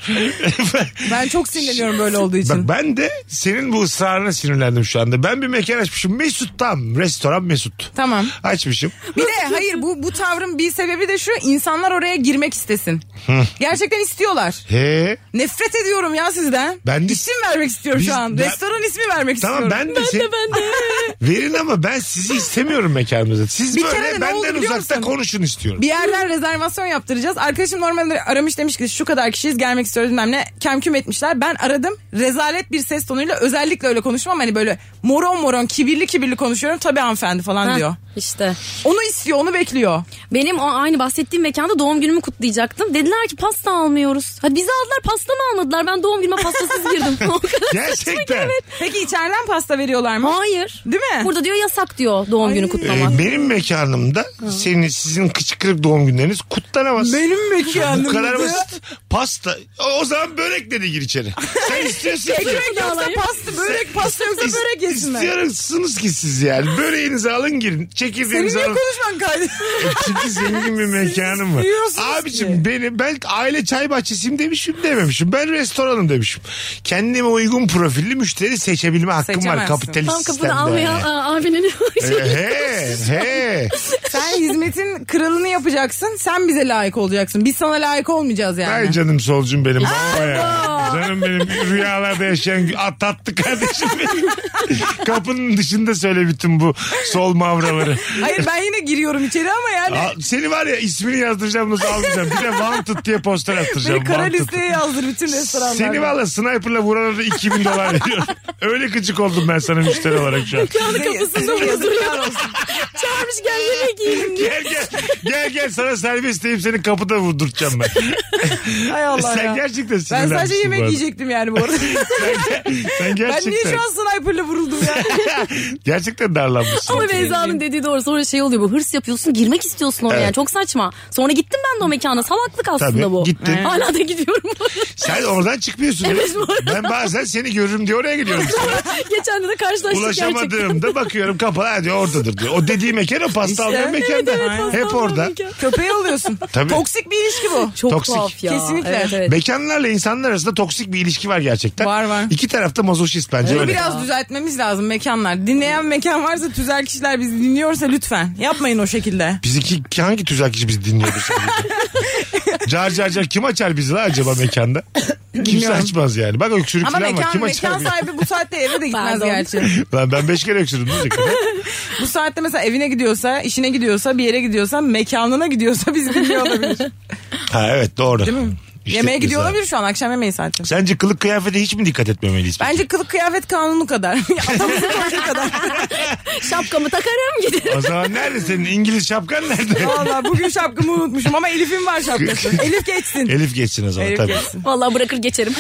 Ben çok sinirleniyorum böyle olduğu için.
Bak ben de senin bu ısrarına sinirlendim şu anda. Ben bir mekan açmışım. Mesut tam. Restoran Mesut.
Tamam.
Açmışım.
Bir de hayır bu bu tavrın bir sebebi de şu insanlar oraya girmek istesin. Gerçekten istiyorlar.
He.
Nefret ediyorum ya sizden.
Ben de-
İsim vermek istiyorum
Biz-
şu an.
ben-
Restoran ismi vermek
Tamam ben
istiyorum.
de, sen- verin ama ben sizi istemiyorum mekanımıza. Siz
Bir kere
böyle
de ne oldu
benden
biliyor
uzakta
musun?
konuşun istiyorum.
Bir yerden rezervasyon yaptıracağız. Arkadaşım normalde aramış demiş ki şu kadar kişiyiz gelmek istiyoruz bilmem ne. Kemküm etmişler. Ben aradım. Rezalet bir ses tonuyla özellikle öyle konuşmam. Hani böyle moron moron kibirli kibirli konuşuyorum. Tabii hanımefendi falan diyor.
İşte.
Onu istiyor onu bekliyor.
Benim o aynı bahsettiğim mekanda doğum günümü kutlayacaktım. Dediler ki pasta almıyoruz. Hadi bizi aldılar pasta mı almadılar? Ben doğum günüme pastasız girdim. O kadar
Gerçekten.
Peki içeriden pasta veriyorlar mı?
Hayır.
Değil mi?
Burada diyor yasak diyor doğum günü kutlamak.
Ee, benim mekanımda senin sizin kıçkırık doğum günleriniz kutlanamaz.
Benim
Bu
mekanımda.
kadar basit. Pasta. O, o zaman börekle de gir içeri. Sen istiyorsun ki.
Ekmek yoksa pasta, börek pasta yoksa
İst-
börek yesinler.
İstiyorsunuz ki siz yani. Böreğinizi alın girin.
Senin
Çekirdeğinizi
niye
alın.
konuşman kaydı?
Çünkü zengin bir mekanım var.
istiyorsunuz
Abicim beni ben aile çay bahçesiyim demişim dememişim. Ben restoranım demişim. Kendime uygun profilli müşteri seçebilme hakkım var
Seçemezsin.
kapitalist
Tam kapıda
sistemde.
almayan aa, abinin
Ee, he he.
Sen hizmetin kralını yapacaksın. Sen bize layık olacaksın. Biz sana layık olmayacağız yani.
Ay canım solcum benim. Baba ya. Canım benim rüyalarda yaşayan atlattı kardeşim benim. Kapının dışında söyle bütün bu sol mavraları.
Hayır ben yine giriyorum içeri ama yani.
Al- seni var ya ismini yazdıracağım nasıl almayacağım. Bir de wanted diye poster attıracağım.
Beni kara
wanted.
listeye yazdır bütün restoranlarda.
Seni valla sniperla vurana da 2000 dolar veriyorum. Öyle gıcık oldum ben sana müşteri olarak şu an.
Size- size yazıklar olsun.
çağırmış gel yemek yiyelim diye.
Gel gel gel gel sana servis deyip seni kapıda vurdurtacağım ben.
Hay Allah
Sen
ya.
gerçekten
ben
sinirlenmişsin
sadece
bu
yemek
arada.
yiyecektim yani bu arada.
Sen
ben niye
gerçekten,
şu an sniperla vuruldum ya?
gerçekten darlanmışsın.
Ama Beyza'nın dediği doğru. Sonra şey oluyor bu hırs yapıyorsun girmek istiyorsun oraya. Yani çok saçma. Sonra gittim ben de o mekana. Salaklık aslında
Tabii,
bu.
gittin.
Hala da gidiyorum.
Sen oradan çıkmıyorsun.
Evet, bu arada.
ben bazen seni görürüm diye oraya gidiyorum.
Geçen de de karşılaştık gerçekten.
Ulaşamadığımda bakıyorum kapalı hadi oradadır diyor. O dediği mekan o pasta almayan mekan da. Hep orada.
Köpeği alıyorsun.
Tabii.
Toksik bir ilişki bu.
Çok
Toksik.
tuhaf ya.
Kesinlikle.
Evet, evet.
Mekanlarla insanlar arasında toksik bir ilişki var gerçekten.
Var, var.
İki tarafta mazoşist bence
Bunu
öyle.
biraz düzeltmemiz lazım mekanlar. Dinleyen mekan varsa tüzel kişiler bizi dinliyorsa lütfen yapmayın o şekilde.
Biz iki, hangi tüzel kişi bizi dinliyor bu sırada? car car car kim açar bizi la acaba mekanda? Kimse
Bilmiyorum.
açmaz yani. Bak öksürük
Ama
falan var.
mekan,
Kim açar
mekan
bizi?
sahibi bu saatte eve de gitmez
Pardon.
gerçi.
Lan ben beş kere öksürdüm. Ne olacak?
Bu saatte mesela evine gidiyorsa, işine gidiyorsa, bir yere gidiyorsa, mekanına gidiyorsa bizi dinliyor olabilir.
ha evet doğru. Değil mi?
Yemeğe gidiyor olabilir şu an akşam yemeği saati.
Sence kılık kıyafete hiç mi dikkat etmemeliyiz?
Bence kılık kıyafet kanunu kadar. Atamızın kanunu kadar.
Şapkamı takarım giderim.
O zaman nerede senin İngiliz şapkan nerede?
Valla bugün şapkamı unutmuşum ama Elif'in var şapkası. Elif geçsin.
Elif geçsin o zaman
Elif
tabii.
geçsin.
Vallahi bırakır geçerim.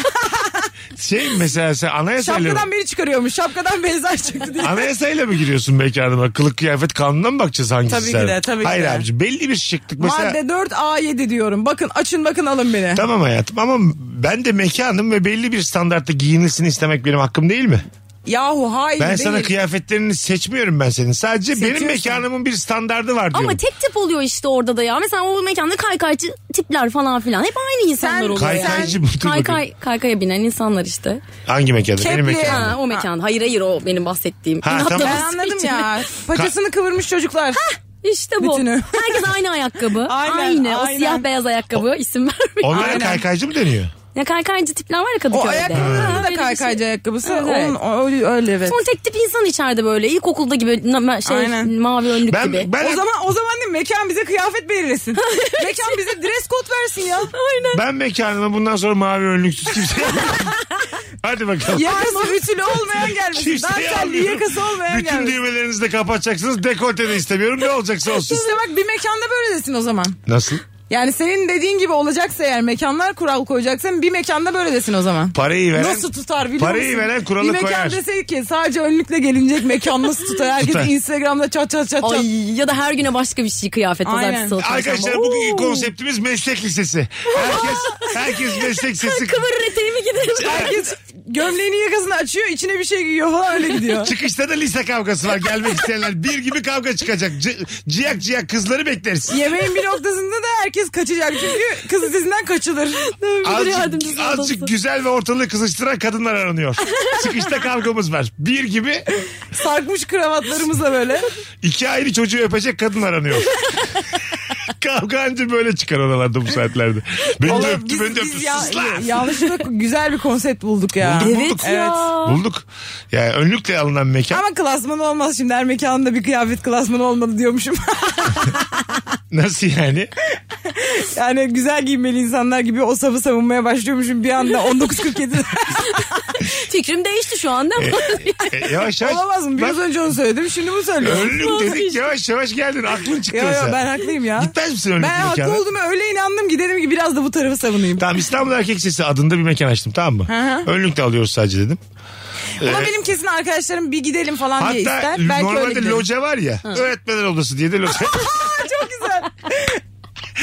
Şey mesela sen anayasayla
Şapkadan beri çıkarıyormuş. Şapkadan benzer çıktı diye.
Anayasayla mı giriyorsun mekanıma? Kılık kıyafet kanununa mı bakacağız hangisi?
Tabii ki
sen?
de, tabii ki
Hayır
de.
abici belli bir şıklık mesela.
Madde 4 A7 diyorum. Bakın açın bakın alın beni.
Tamam hayatım ama ben de mekanım ve belli bir standartta giyinilsin istemek benim hakkım değil mi?
Yahu hayır
Ben
değil.
sana kıyafetlerini seçmiyorum ben senin. Sadece benim
Seçiyorsun.
mekanımın bir standardı var diyorum.
Ama tek tip oluyor işte orada da ya. Mesela o mekanda kaykaycı tipler falan filan. Hep aynı insanlar
Sen-
oluyor.
Kaykaycı mı? Dur
Kaykay,
bakayım.
kaykaya binen insanlar işte.
Hangi mekanda? Benim
Kepli.
mekanım.
Ha, o mekan. Hayır hayır o benim bahsettiğim.
Ha,
İnatla
tamam.
Ben
basıyor
anladım
içine.
ya. Paçasını kıvırmış çocuklar.
İşte bu.
Bütünü.
Herkes aynı ayakkabı.
Aynen,
aynı. O
aynen.
siyah beyaz ayakkabı isim vermiyor.
Onlara
Aynen.
kaykaycı mı deniyor?
Ya kaykaycı tipler var ya
O
Kadıköy'de.
ayakkabılarında
Öyle
da
bir
kaykaycı
şey.
ayakkabısı.
Evet.
Onun, o- öyle, öyle evet.
Son tek tip insan içeride böyle. İlkokulda gibi na- şey
Aynen.
mavi önlük
Ben,
gibi.
ben,
O zaman o zaman değil mi? mekan bize kıyafet belirlesin. mekan bize dress code versin ya.
ben mekanıma bundan sonra mavi önlüksüz kimseye Hadi bakalım.
Yakası ütülü olmayan gelmesin.
Kimseye
Daha telli
almıyorum.
yakası olmayan
Bütün
gelmesin.
düğmelerinizi de kapatacaksınız. Dekolte de istemiyorum. Ne olacaksa olsun.
İşte bak bir mekanda böyle desin o zaman.
Nasıl?
Yani senin dediğin gibi olacaksa eğer mekanlar kural koyacaksa bir mekanda böyle desin o zaman.
Parayı veren...
Nasıl tutar biliyor
Parayı
musun?
veren kuralı
Bir mekan
koyar.
dese ki sadece önlükle gelinecek mekan nasıl tutar? Herkes
Tutar.
Instagram'da çat çat çat çat.
Ay ya da her güne başka bir şey kıyafet
Aynen.
pazartesi salı, çarşamba.
Arkadaşlar
Oo.
bugünkü konseptimiz meslek lisesi. Herkes herkes meslek lisesi.
Kıvırır eteğimi giderim.
Herkes gömleğini yakasını açıyor içine bir şey giyiyor falan öyle gidiyor.
Çıkışta da lise kavgası var gelmek isteyenler. Bir gibi kavga çıkacak. C- ciyak ciyak kızları bekleriz.
Yemeğin bir noktasında da herkes kaçacak çünkü kız dizinden kaçılır.
Azıcık, azıcık güzel ve ortalığı kızıştıran kadınlar aranıyor. Çıkışta kavgamız var. Bir gibi
Sarkmış kravatlarımıza böyle.
iki ayrı çocuğu öpecek kadın aranıyor. Kavga anca böyle çıkar oralarda bu saatlerde. Beni de
Vallahi
öptü, beni de öptü.
ya-
Sus lan!
yanlışlıkla güzel bir konsept bulduk ya.
Bulduk, bulduk.
Evet ya.
Bulduk. Yani önlükle alınan mekan.
Ama klasmanı olmaz şimdi her mekanında bir kıyafet klasmanı olmadı diyormuşum.
Nasıl yani?
yani güzel giyinmeli insanlar gibi o savı savunmaya başlıyormuşum bir anda 1947'de.
Fikrim değişti şu anda.
E, yavaş yavaş.
Olamaz mı? Biraz
Bak,
önce onu söyledim şimdi bunu söylüyorum.
Önlük dedik yavaş yavaş geldin. Aklın çıktı
Yo yo
mesela.
ben haklıyım ya.
Gitmez misin önlük
Ben haklı
mekana?
olduğuma öyle inandım ki dedim ki biraz da bu tarafı savunayım.
Tamam İstanbul Erkek Lisesi adında bir mekan açtım tamam mı?
Hı hı.
Önlük de alıyoruz sadece dedim.
Ama
Ee,
benim kesin arkadaşlarım bir gidelim falan diye
Hatta
ister. Belki öyle
normalde
gidelim.
loca var ya. Öğretmenler odası diye de loca.
Çok güzel.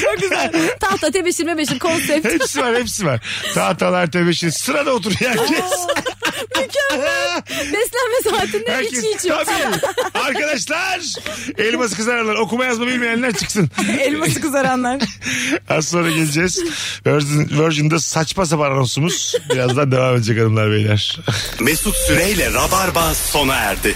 Çok güzel.
Tahta tebeşir mebeşir konsept.
hepsi var hepsi var. Tahtalar tebeşir. Sırada oturuyor herkes.
Beslenme saatinde hiç
herkes.
hiç yok.
Tabii. Arkadaşlar elması kızarlar. Okuma yazma bilmeyenler çıksın.
Elması kızaranlar.
Az sonra geleceğiz. Virgin, Virgin'de saçma sapan anonsumuz. Birazdan devam edecek hanımlar beyler.
Mesut Süreyle Rabarba sona erdi.